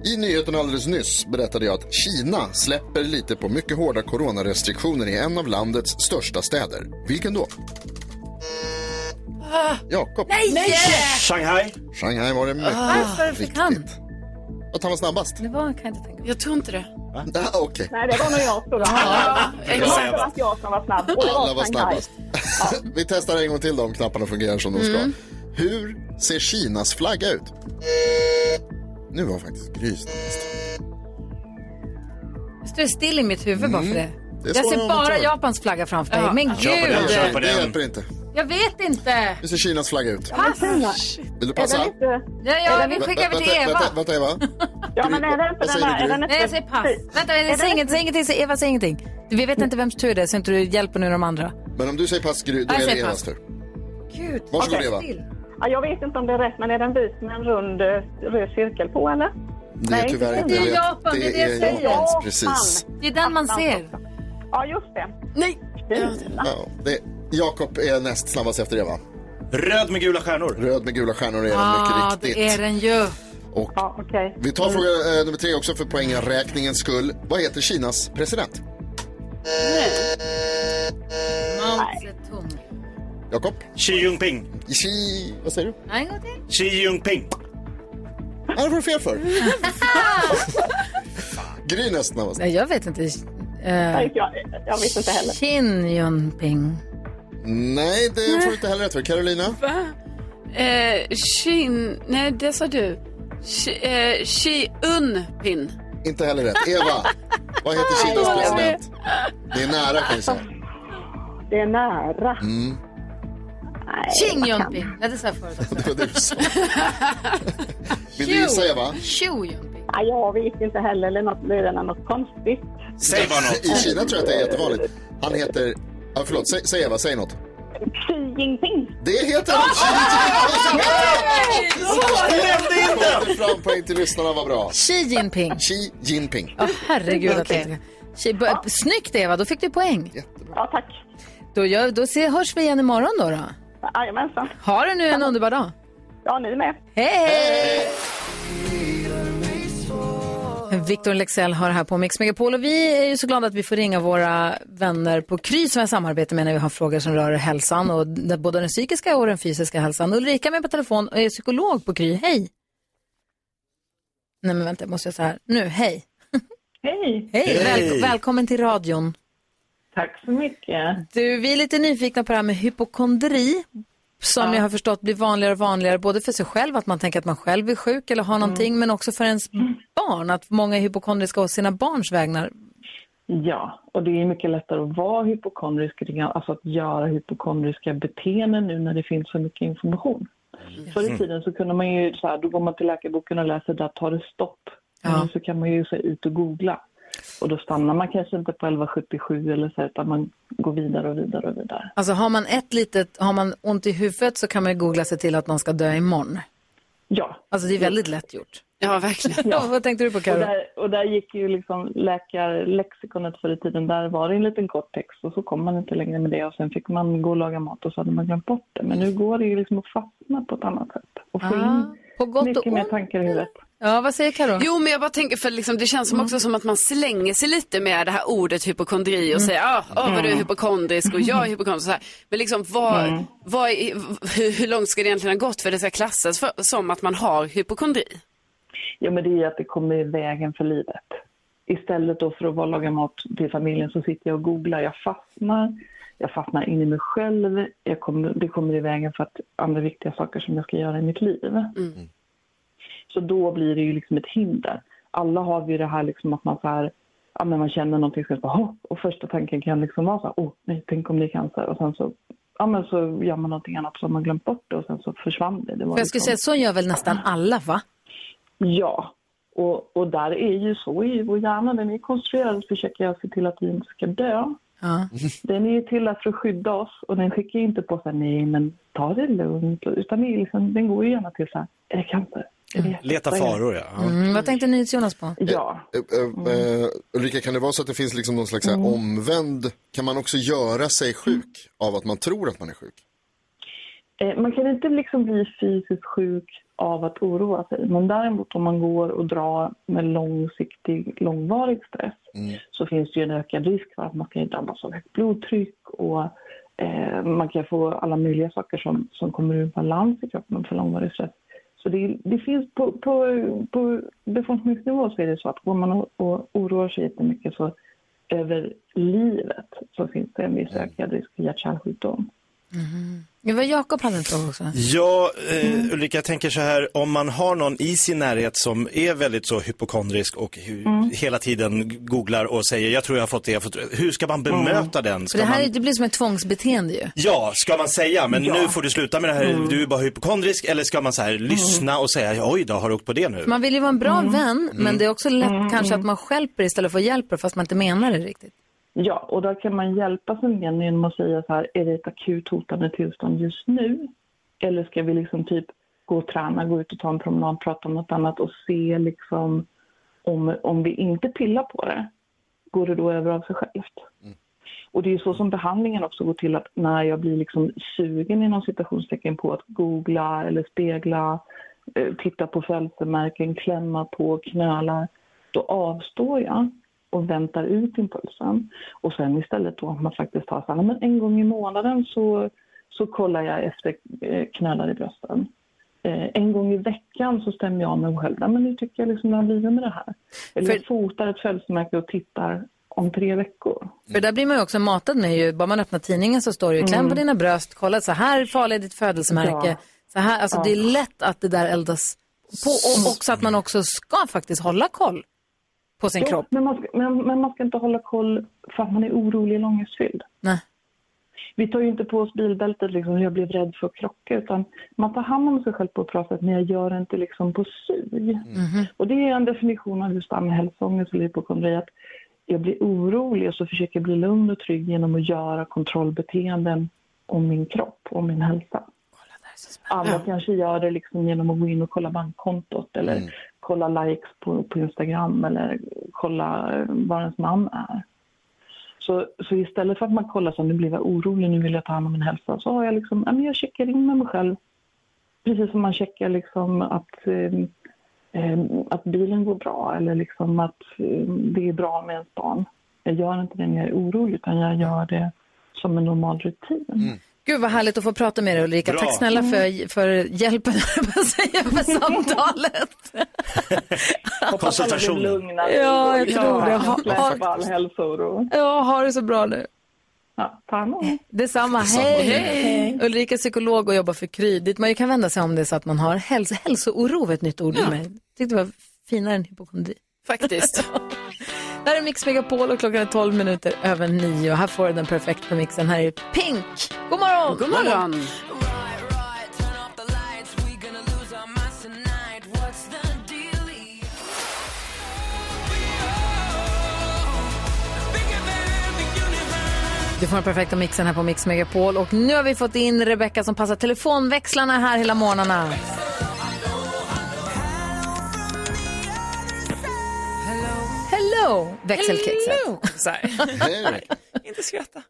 D: I nyheten alldeles nyss berättade jag att Kina släpper lite på mycket hårda coronarestriktioner i en av landets största städer. Vilken då? Jakob.
A: Nej! Nej!
B: Shanghai.
D: Shanghai var det mycket.
A: Ah. Varför fick han?
D: Att han var snabbast?
A: Det var, kan jag inte tänka
C: Jag tror inte det.
D: Ah, Okej.
P: Nej, det var nog jag. Tror jag. Det
D: exakt.
P: var inte jag som var snabb. Och det var
D: Alla var
P: Shanghai.
D: snabbast. [LAUGHS] vi testar en gång till då om knapparna fungerar som de ska.
P: Mm.
D: Hur ser Kinas flagga ut? Nu var faktiskt Gry snabbast.
A: Jag står still i mitt huvud bara för det.
D: Mm. Det är
A: Jag
D: svårare
A: ser
D: än man
A: bara
D: tror.
A: Japans flagga framför mig. Men
D: Kör på den, kör
A: gud!
D: på den. Det hjälper inte.
A: Jag vet inte.
D: Nu ser Kinas flagga ut.
A: Pass.
D: Vill du passa?
A: Ja, ja, vi skickar över till Eva.
D: Vänta, vänta Eva.
A: Ja, men är det
D: Vad säger du, Gry?
A: Nej, jag säger pass. Vänta,
D: Är
A: säg
D: den-
A: inget, säg ingenting, säg Eva, säg ingenting. Vi vet inte vems tur det är, så inte du hjälper nu de andra.
D: Men om du säger pass Gry,
A: Jag
D: då är det
A: säger
D: Evas
A: pass.
D: tur.
A: Gud.
D: Varsågod
P: Okej.
D: Eva.
P: Ja, jag vet inte om det är rätt, men är den vit med en rund eh, röd cirkel på eller?
D: Det är tyvärr inte
P: Det är
D: rätt.
P: Japan, det är det jag säger.
D: Japans,
P: Japan.
D: precis.
A: Det är den man ser.
P: Ja, just det.
C: Nej!
D: Ja, det, Jakob är näst snabbast efter Eva.
B: Röd med gula stjärnor.
D: Röd med gula stjärnor är den
A: Ah,
D: mycket
A: det
D: riktigt.
A: är den ju.
D: Och
P: Ja, okej.
D: vi tar fråga eh, nummer tre också för poängräkningens skull. Vad heter Kinas president?
A: Mao Zedong.
D: Jakob?
B: Xi Jinping.
D: Xi... Vad säger du?
A: Nej, en gång till.
B: Xi Jinping.
D: Vad var det fel
B: [LAUGHS]
D: för? Gry näst snabbast.
A: Nej, jag vet inte. Eh,
D: Nej, jag- jag vet inte heller.
A: Xin Jinping.
D: Nej, det får du inte heller rätt för. Carolina?
C: Va? Eh, Shin... Nej, det sa du. Shi- eh, Shi-Un-pin.
D: Inte heller rätt. Eva, vad heter Kinas president? Det är nära kan jag säga.
P: Det är nära.
D: Mm.
A: Xing Jinping. Nej, det sa jag förut också.
D: [LAUGHS] Det var det du sa. Vill du gissa Eva?
A: Tjo
P: Ja, jag vet inte heller, eller något, det är något konstigt.
D: Säg bara något. I Kina tror jag att det är jättevanligt. Han heter... Ja, förlåt, säg, säg Eva, säg något.
P: Xi Jinping.
D: Det heter han! Xi Jinping!
A: Jag nämnde inte!
D: Jag fick fram poäng till lyssnarna, vad bra.
A: Xi Jinping.
D: Xi Jinping.
A: Åh, herregud. att
D: Okej.
A: jag inte- Xi- bo- Snyggt Eva, då fick du poäng.
P: Ja, tack.
A: Då, gör, då se, hörs vi igen imorgon då. då.
P: Jajamensan.
A: Ha det nu en underbar dag.
P: Ja, ni med.
A: Hej! Victor Lexell har här på Mix Megapol och vi är ju så glada att vi får ringa våra vänner på Kry som jag samarbetar med när vi har frågor som rör hälsan och d- både den psykiska och den fysiska hälsan. Ulrika är med på telefon och är psykolog på Kry. Hej! Nej men vänta, jag måste göra så här. Nu, hej!
S: Hej!
A: Hej!
S: Hej.
A: Väl- välkommen till radion.
S: Tack så mycket.
A: Du, vi är lite nyfikna på det här med hypokondri som jag har förstått blir vanligare och vanligare både för sig själv, att man tänker att man själv är sjuk eller
S: Mm.
A: har någonting, men också för ens barn, att många är hypokondriska och sina barns vägnar.
S: Ja, och det är mycket lättare att vara hypokondrisk, alltså att göra hypokondriska beteenden nu när det finns så mycket information. Förr i
D: Mm.
S: tiden så kunde man ju, så här, då går man till läkarboken och läser, där tar det stopp. Men nu så kan man ju så här, ut och googla. Och då stannar man kanske inte på 1177 eller så, här, utan man går vidare och vidare och vidare.
A: Alltså har man ett litet, har man ont i huvudet så kan man ju googla sig till att man ska dö imorgon.
S: Ja.
A: Alltså det är väldigt lätt gjort.
C: Ja, verkligen.
A: Ja. [LAUGHS] Vad tänkte du på
S: Och
A: Karo?
S: där, och där gick ju liksom läkarlexikonet förr i tiden, där var det en liten kort text och så kom man inte längre med det och sen fick man gå och laga mat och så hade man glömt bort det. Men nu går det ju liksom att fastna på ett annat sätt och få
A: Mm. Ah,
S: in
A: på gott
S: mycket
A: och
S: mer
A: ont.
S: tankar i huvudet.
A: Ja, vad säger Mm. Karo?
C: Jo, men jag bara tänker för liksom, det känns som också som att man slänger sig lite med det här ordet hypokondri
A: Mm.
C: och säger, ah, ah, vad du är hypokondrisk och jag är hypokondrisk. Så här. Men liksom, vad,
A: Mm.
C: vad är, [LAUGHS] hur, hur långt ska det egentligen ha gått för det ska klassas för, som att man har hypokondri?
S: Ja, men det är ju att det kommer i vägen för livet. Istället då för att bara laga mat till familjen så sitter jag och googlar. Jag fastnar, jag fastnar in i mig själv. Jag kommer, det kommer i vägen för att andra viktiga saker som jag ska göra i mitt liv.
A: Mm.
S: Så då blir det ju liksom ett hinder. Alla har vi det här liksom att man så här, ja, men man känner någonting så bara, "Åh", och första tanken kan liksom vara så här, åh nej, tänk om det är cancer och sen så, ja, men så gör man någonting annat så har man glömt bort det och sen så försvann det. det var
A: För jag skulle
S: liksom-
A: säga, så gör väl nästan alla va?
S: Ja, och, och där är ju så är ju vår hjärna. Den är konstruerad att försöka se till att vi inte ska dö.
A: Ja.
S: Den är ju till för att skydda oss och den skickar ju inte på sig nej men ta det lugnt. Utan det är liksom, den går ju gärna till så här, är det cancer? Är det
B: Leta
S: vad är det?"
B: faror, ja.
A: Mm, vad tänkte ni Jonas på?
S: Ja.
D: Eh, eh, eh, Ulrika, kan det vara så att det finns liksom någon slags så här omvänd... Kan man också göra sig sjuk av att man tror att man är sjuk?
S: Eh, Man kan inte liksom bli fysiskt sjuk av att oroa sig. Men däremot om man går och drar med långsiktig, långvarig stress så finns det ju en ökad risk för att man kan drabbas av högt blodtryck och eh, man kan få alla möjliga saker som, som kommer ur balans i kroppen för långvarig stress. Så det, det finns på, på, på befolkningsnivå så är det så att går man och, och oroar sig jättemycket så över livet så finns det en viss ökad risk för hjärt-kärlsjukdom.
A: Det var Jakob hade en fråga också.
B: Ja,
A: Mm.
B: eh, Ulrika, jag tänker så här, om man har någon i sin närhet som är väldigt så hypokondrisk och hu-
A: Mm.
B: hela tiden googlar och säger jag tror jag har fått det, jag har fått det." Hur ska man bemöta den?
A: För
B: Ska
A: Mm. det här
B: man...
A: det blir som ett tvångsbeteende ju.
B: Ja, ska man säga, men
A: Ja. Mm.
B: nu får du sluta med det här, du är bara hypokondrisk, eller ska man så här lyssna och säga, oj då, har du åkt på det nu?
A: För Mm. man vill ju vara en bra vän, men
B: Mm.
A: det är också lätt kanske att man stjälper istället för att hjälpa fast man inte menar det riktigt.
S: Ja, och då kan man hjälpa sin vän genom att säga så här, är det ett akut hotande tillstånd just nu? Eller ska vi liksom typ gå och träna, gå ut och ta en promenad, prata om något annat och se liksom om, om vi inte pillar på det, går det då över av sig självt? Och det är ju så som behandlingen också går till att när jag blir liksom sugen inom citationstecken på att googla eller spegla, eh, titta på födelsemärken, klämma på, knöla, då avstår jag och väntar ut impulsen. Och sen istället då att man faktiskt har så här, men en gång i månaden så, så kollar jag efter eh, knölar i brösten. Eh, en gång i veckan så stämmer jag av med mig själv. "Nej, Men nu tycker jag liksom det har blivit med det här. Eller jag fotar ett födelsemärke och tittar om tre veckor.
A: För där blir man ju också matad med ju, bara man öppnar tidningen så står det ju kläm på
S: Mm.
A: dina bröst, kolla så här farligt är ditt födelsemärke.
S: Ja.
A: Så här, alltså
S: Ja.
A: det är lätt att det där eldas på och också att man också ska faktiskt hålla koll på sin
S: Jo,
A: kropp.
S: Men man, ska, men, men man ska inte hålla koll för att man är orolig eller ångestfylld.
A: Nej.
S: Vi tar ju inte på oss bilbältet liksom, jag blev rädd för att krocka, utan man tar hand om sig själv på ett bra sätt, men jag gör det inte liksom på sug.
A: Mm-hmm.
S: Och det är en definition av just hälsoångest eller hypokondri, att jag blir orolig och så försöker jag bli lugn och trygg genom att göra kontrollbeteenden om min kropp och min hälsa. Alla kanske gör det liksom genom att gå in och kolla bankkontot eller kolla likes på, på Instagram eller kolla eh, vad ens man är. Så, så istället för att man kollar så här, nu blev jag orolig, nu vill jag ta hand om min hälsa, så har jag liksom, ja, men jag checkar in med mig själv. Precis som man checkar liksom att, eh, eh, att bilen går bra eller liksom att eh, det är bra med ens barn. Jag gör inte det när jag är orolig utan jag gör det som en normal rutin.
A: Gud vad härligt att få prata med dig Ulrika.
S: Bra.
A: Tack snälla för,
S: Mm.
A: för hjälpen, [LAUGHS] höll jag på att säga, för samtalet.
S: Hoppas alla blir lugnare.
A: Ja, jag tror det. Ha,
S: Ja,
A: ha,
S: faktiskt. all hälsooro.
A: ja, ha det så bra nu.
S: Ja, ta hand om er.
A: Detsamma.
S: Detsamma.
A: Hej.
S: Hej.
A: Ulrika är psykolog och jobbar för Kry. Dit man ju kan vända sig om det är så att man har häls hälsooro, var ett nytt ord för mig. Tyckte det var finare än hypokondri.
C: Faktiskt.
A: Där är Mix Megapol och klockan är 12 minuter över 9. Här får du den perfekta mixen. Här är Pink. God morgon!
C: God morgon.
A: Du får den perfekta mixen här på Mix Megapol. Och nu har vi fått in Rebecca som passar telefonväxlarna här hela morgnarna. Hello, växelkexet.
T: Hello. Så här.
D: [LAUGHS]
T: inte skratta.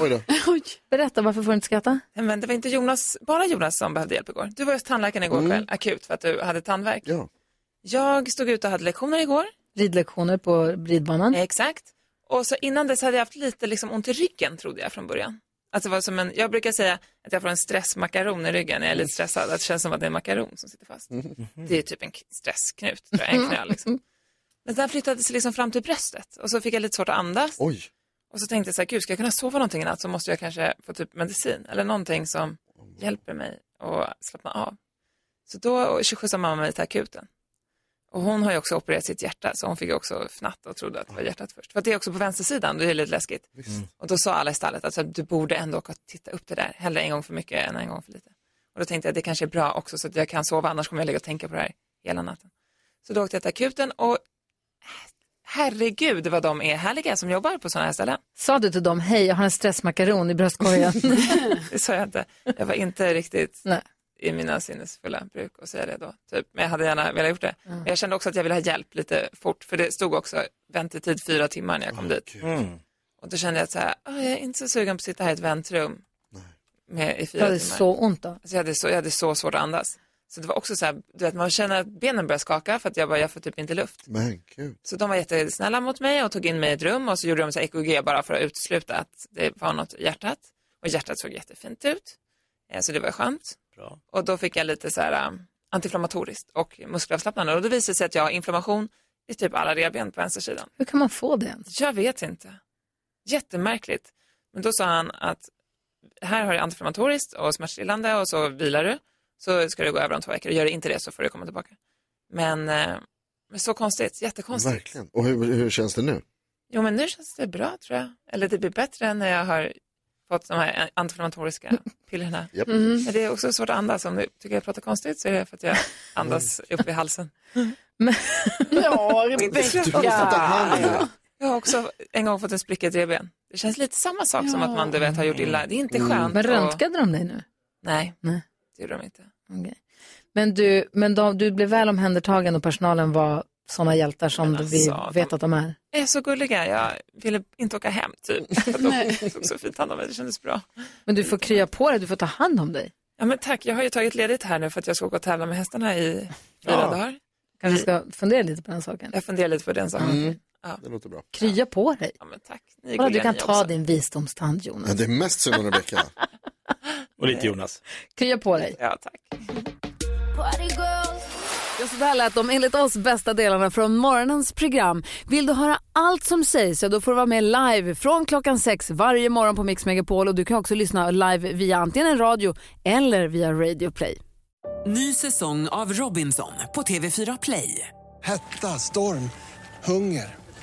D: Oj då.
A: [LAUGHS] Berätta, varför får du inte skratta?
T: Nej, [LAUGHS] Men det var inte Jonas, bara Jonas som behövde hjälp igår. Du var hos tandläkaren igår
A: Mm.
T: kväll, akut, för att du hade tandvärk.
D: Ja.
T: Jag stod ute och hade lektioner igår.
A: Ridlektioner på ridbanan.
T: Exakt. Och så innan dess hade jag haft lite liksom ont i ryggen trodde jag från början. Alltså det var som en, jag brukar säga att jag får en stressmakaron i ryggen när jag är lite
D: Mm.
T: stressad. Att det känns som att det är en makaron som sitter fast. Det är typ en k- stressknut, tror jag, en knöl. Liksom. Men den flyttades liksom fram till bröstet och så fick jag lite svårt att andas.
D: Oj.
T: Och så tänkte jag så här, gud ska jag kunna sova någonting i natt så måste jag kanske få typ medicin eller någonting som hjälper mig att slappna av. Så då skjutsade mamma mig till akuten. Och hon har ju också opererat sitt hjärta så hon fick ju också fnatt och trodde att det var hjärtat först. För att det är också på vänstersidan, det är lite läskigt. Och då sa alla i stallet att så här, du borde ändå åka och titta upp det där. Hellre en gång för mycket än en gång för lite. Och då tänkte jag att det kanske är bra också så att jag kan sova annars kommer jag ligga och tänka på det här hela natten. Så då åkte jag till akuten och äh, herregud vad de är härliga som jobbar på sådana här ställen.
A: Sa du till dem, hej, jag har en stressmakaron i bröstkorgen?
T: [LAUGHS] det sa jag inte. Jag var inte riktigt
A: Nej.
T: i mina sinnesfulla bruk att säga det då. Typ. Men jag hade gärna velat gjort det.
A: Mm.
T: Men jag kände också att jag ville ha hjälp lite fort, för det stod också väntetid fyra timmar när jag kom dit. Och då kände jag att så här, "Ah, jag är inte så sugen på att sitta här i ett väntrum med, i
A: Det
T: fyra
A: hade
T: timmar.
A: så ont då.
T: Alltså jag, hade så, jag hade så svårt att andas. Så det var också så här, du vet, man känner att benen börjar skaka för att jag bara, jag får typ inte luft.
D: Men gud.
T: Så de var jättesnälla mot mig och tog in mig i ett rum och så gjorde de så här EKG bara för att utesluta att det var något i hjärtat. Och hjärtat såg jättefint ut. Eh, Så det var skönt.
B: Bra.
T: Och då fick jag lite så här um, antiinflammatoriskt och muskelavslappnande. Och då visade det sig att jag har inflammation i typ alla revben på vänstersidan.
A: Hur kan man få det ens?
T: Jag vet inte. Jättemärkligt. Men då sa han att här har du antiinflammatoriskt och smärtstillande och så vilar du. Så ska du gå över om två veckor. Gör du inte det så får du komma tillbaka. Men, eh, men så konstigt, jättekonstigt.
D: Verkligen. Och hur, hur känns det nu?
T: Jo, men nu känns det bra tror jag. Eller det blir bättre än när jag har fått de här antiinflammatoriska pillerna. Mm.
D: Japp.
T: Men det är också svårt att andas. Om du tycker jag pratar konstigt så är det för att jag andas upp i halsen.
C: Ja,
T: Rebecka.
C: Rebecka.
T: Jag har också en gång fått en spricka i ett revben. Det känns lite samma sak som
A: Ja.
T: att man du vet, har gjort illa. Det är inte skönt.
A: Men
T: att-
A: röntgade de dig nu?
T: Nej,
A: Nej.
T: det gjorde de inte.
A: Okej. Men, du, men de, du blev väl omhändertagen och personalen var sådana hjältar som
T: alltså,
A: vi vet att de är.
T: De är så gulliga. Jag ville inte åka hem typ. För att de tog så fint hand om mig. Det kändes bra.
A: Men du får krya på dig, du får ta hand om dig.
T: Ja, men tack. Jag har ju tagit ledigt här nu för att jag ska åka och tävla med hästarna i fyra
A: Ja.
T: dagar.
A: Kanske ska fundera lite på den saken.
T: Jag funderar lite på den saken.
D: Mm.
T: Ja.
D: Det låter bra.
A: Krya på dig.
T: Ja, men tack. Ni är
A: Kolla, du
T: gulliga
A: kan
T: ni
A: ta
T: också.
A: din visdomstand, Jonas.
D: Ja, det är mest synd om Rebecka.
B: Och lite Jonas.
A: Krya på dig.
T: Ja, tack.
A: Ja, så där lät de enligt oss bästa delarna från morgonens program. Vill du höra allt som sägs så då får du vara med live från klockan sex varje morgon på Mix Megapol och du kan också lyssna live via antingen radio eller via Radio Play.
H: Ny säsong av Robinson på TV4 Play.
U: Hetta, storm, hunger.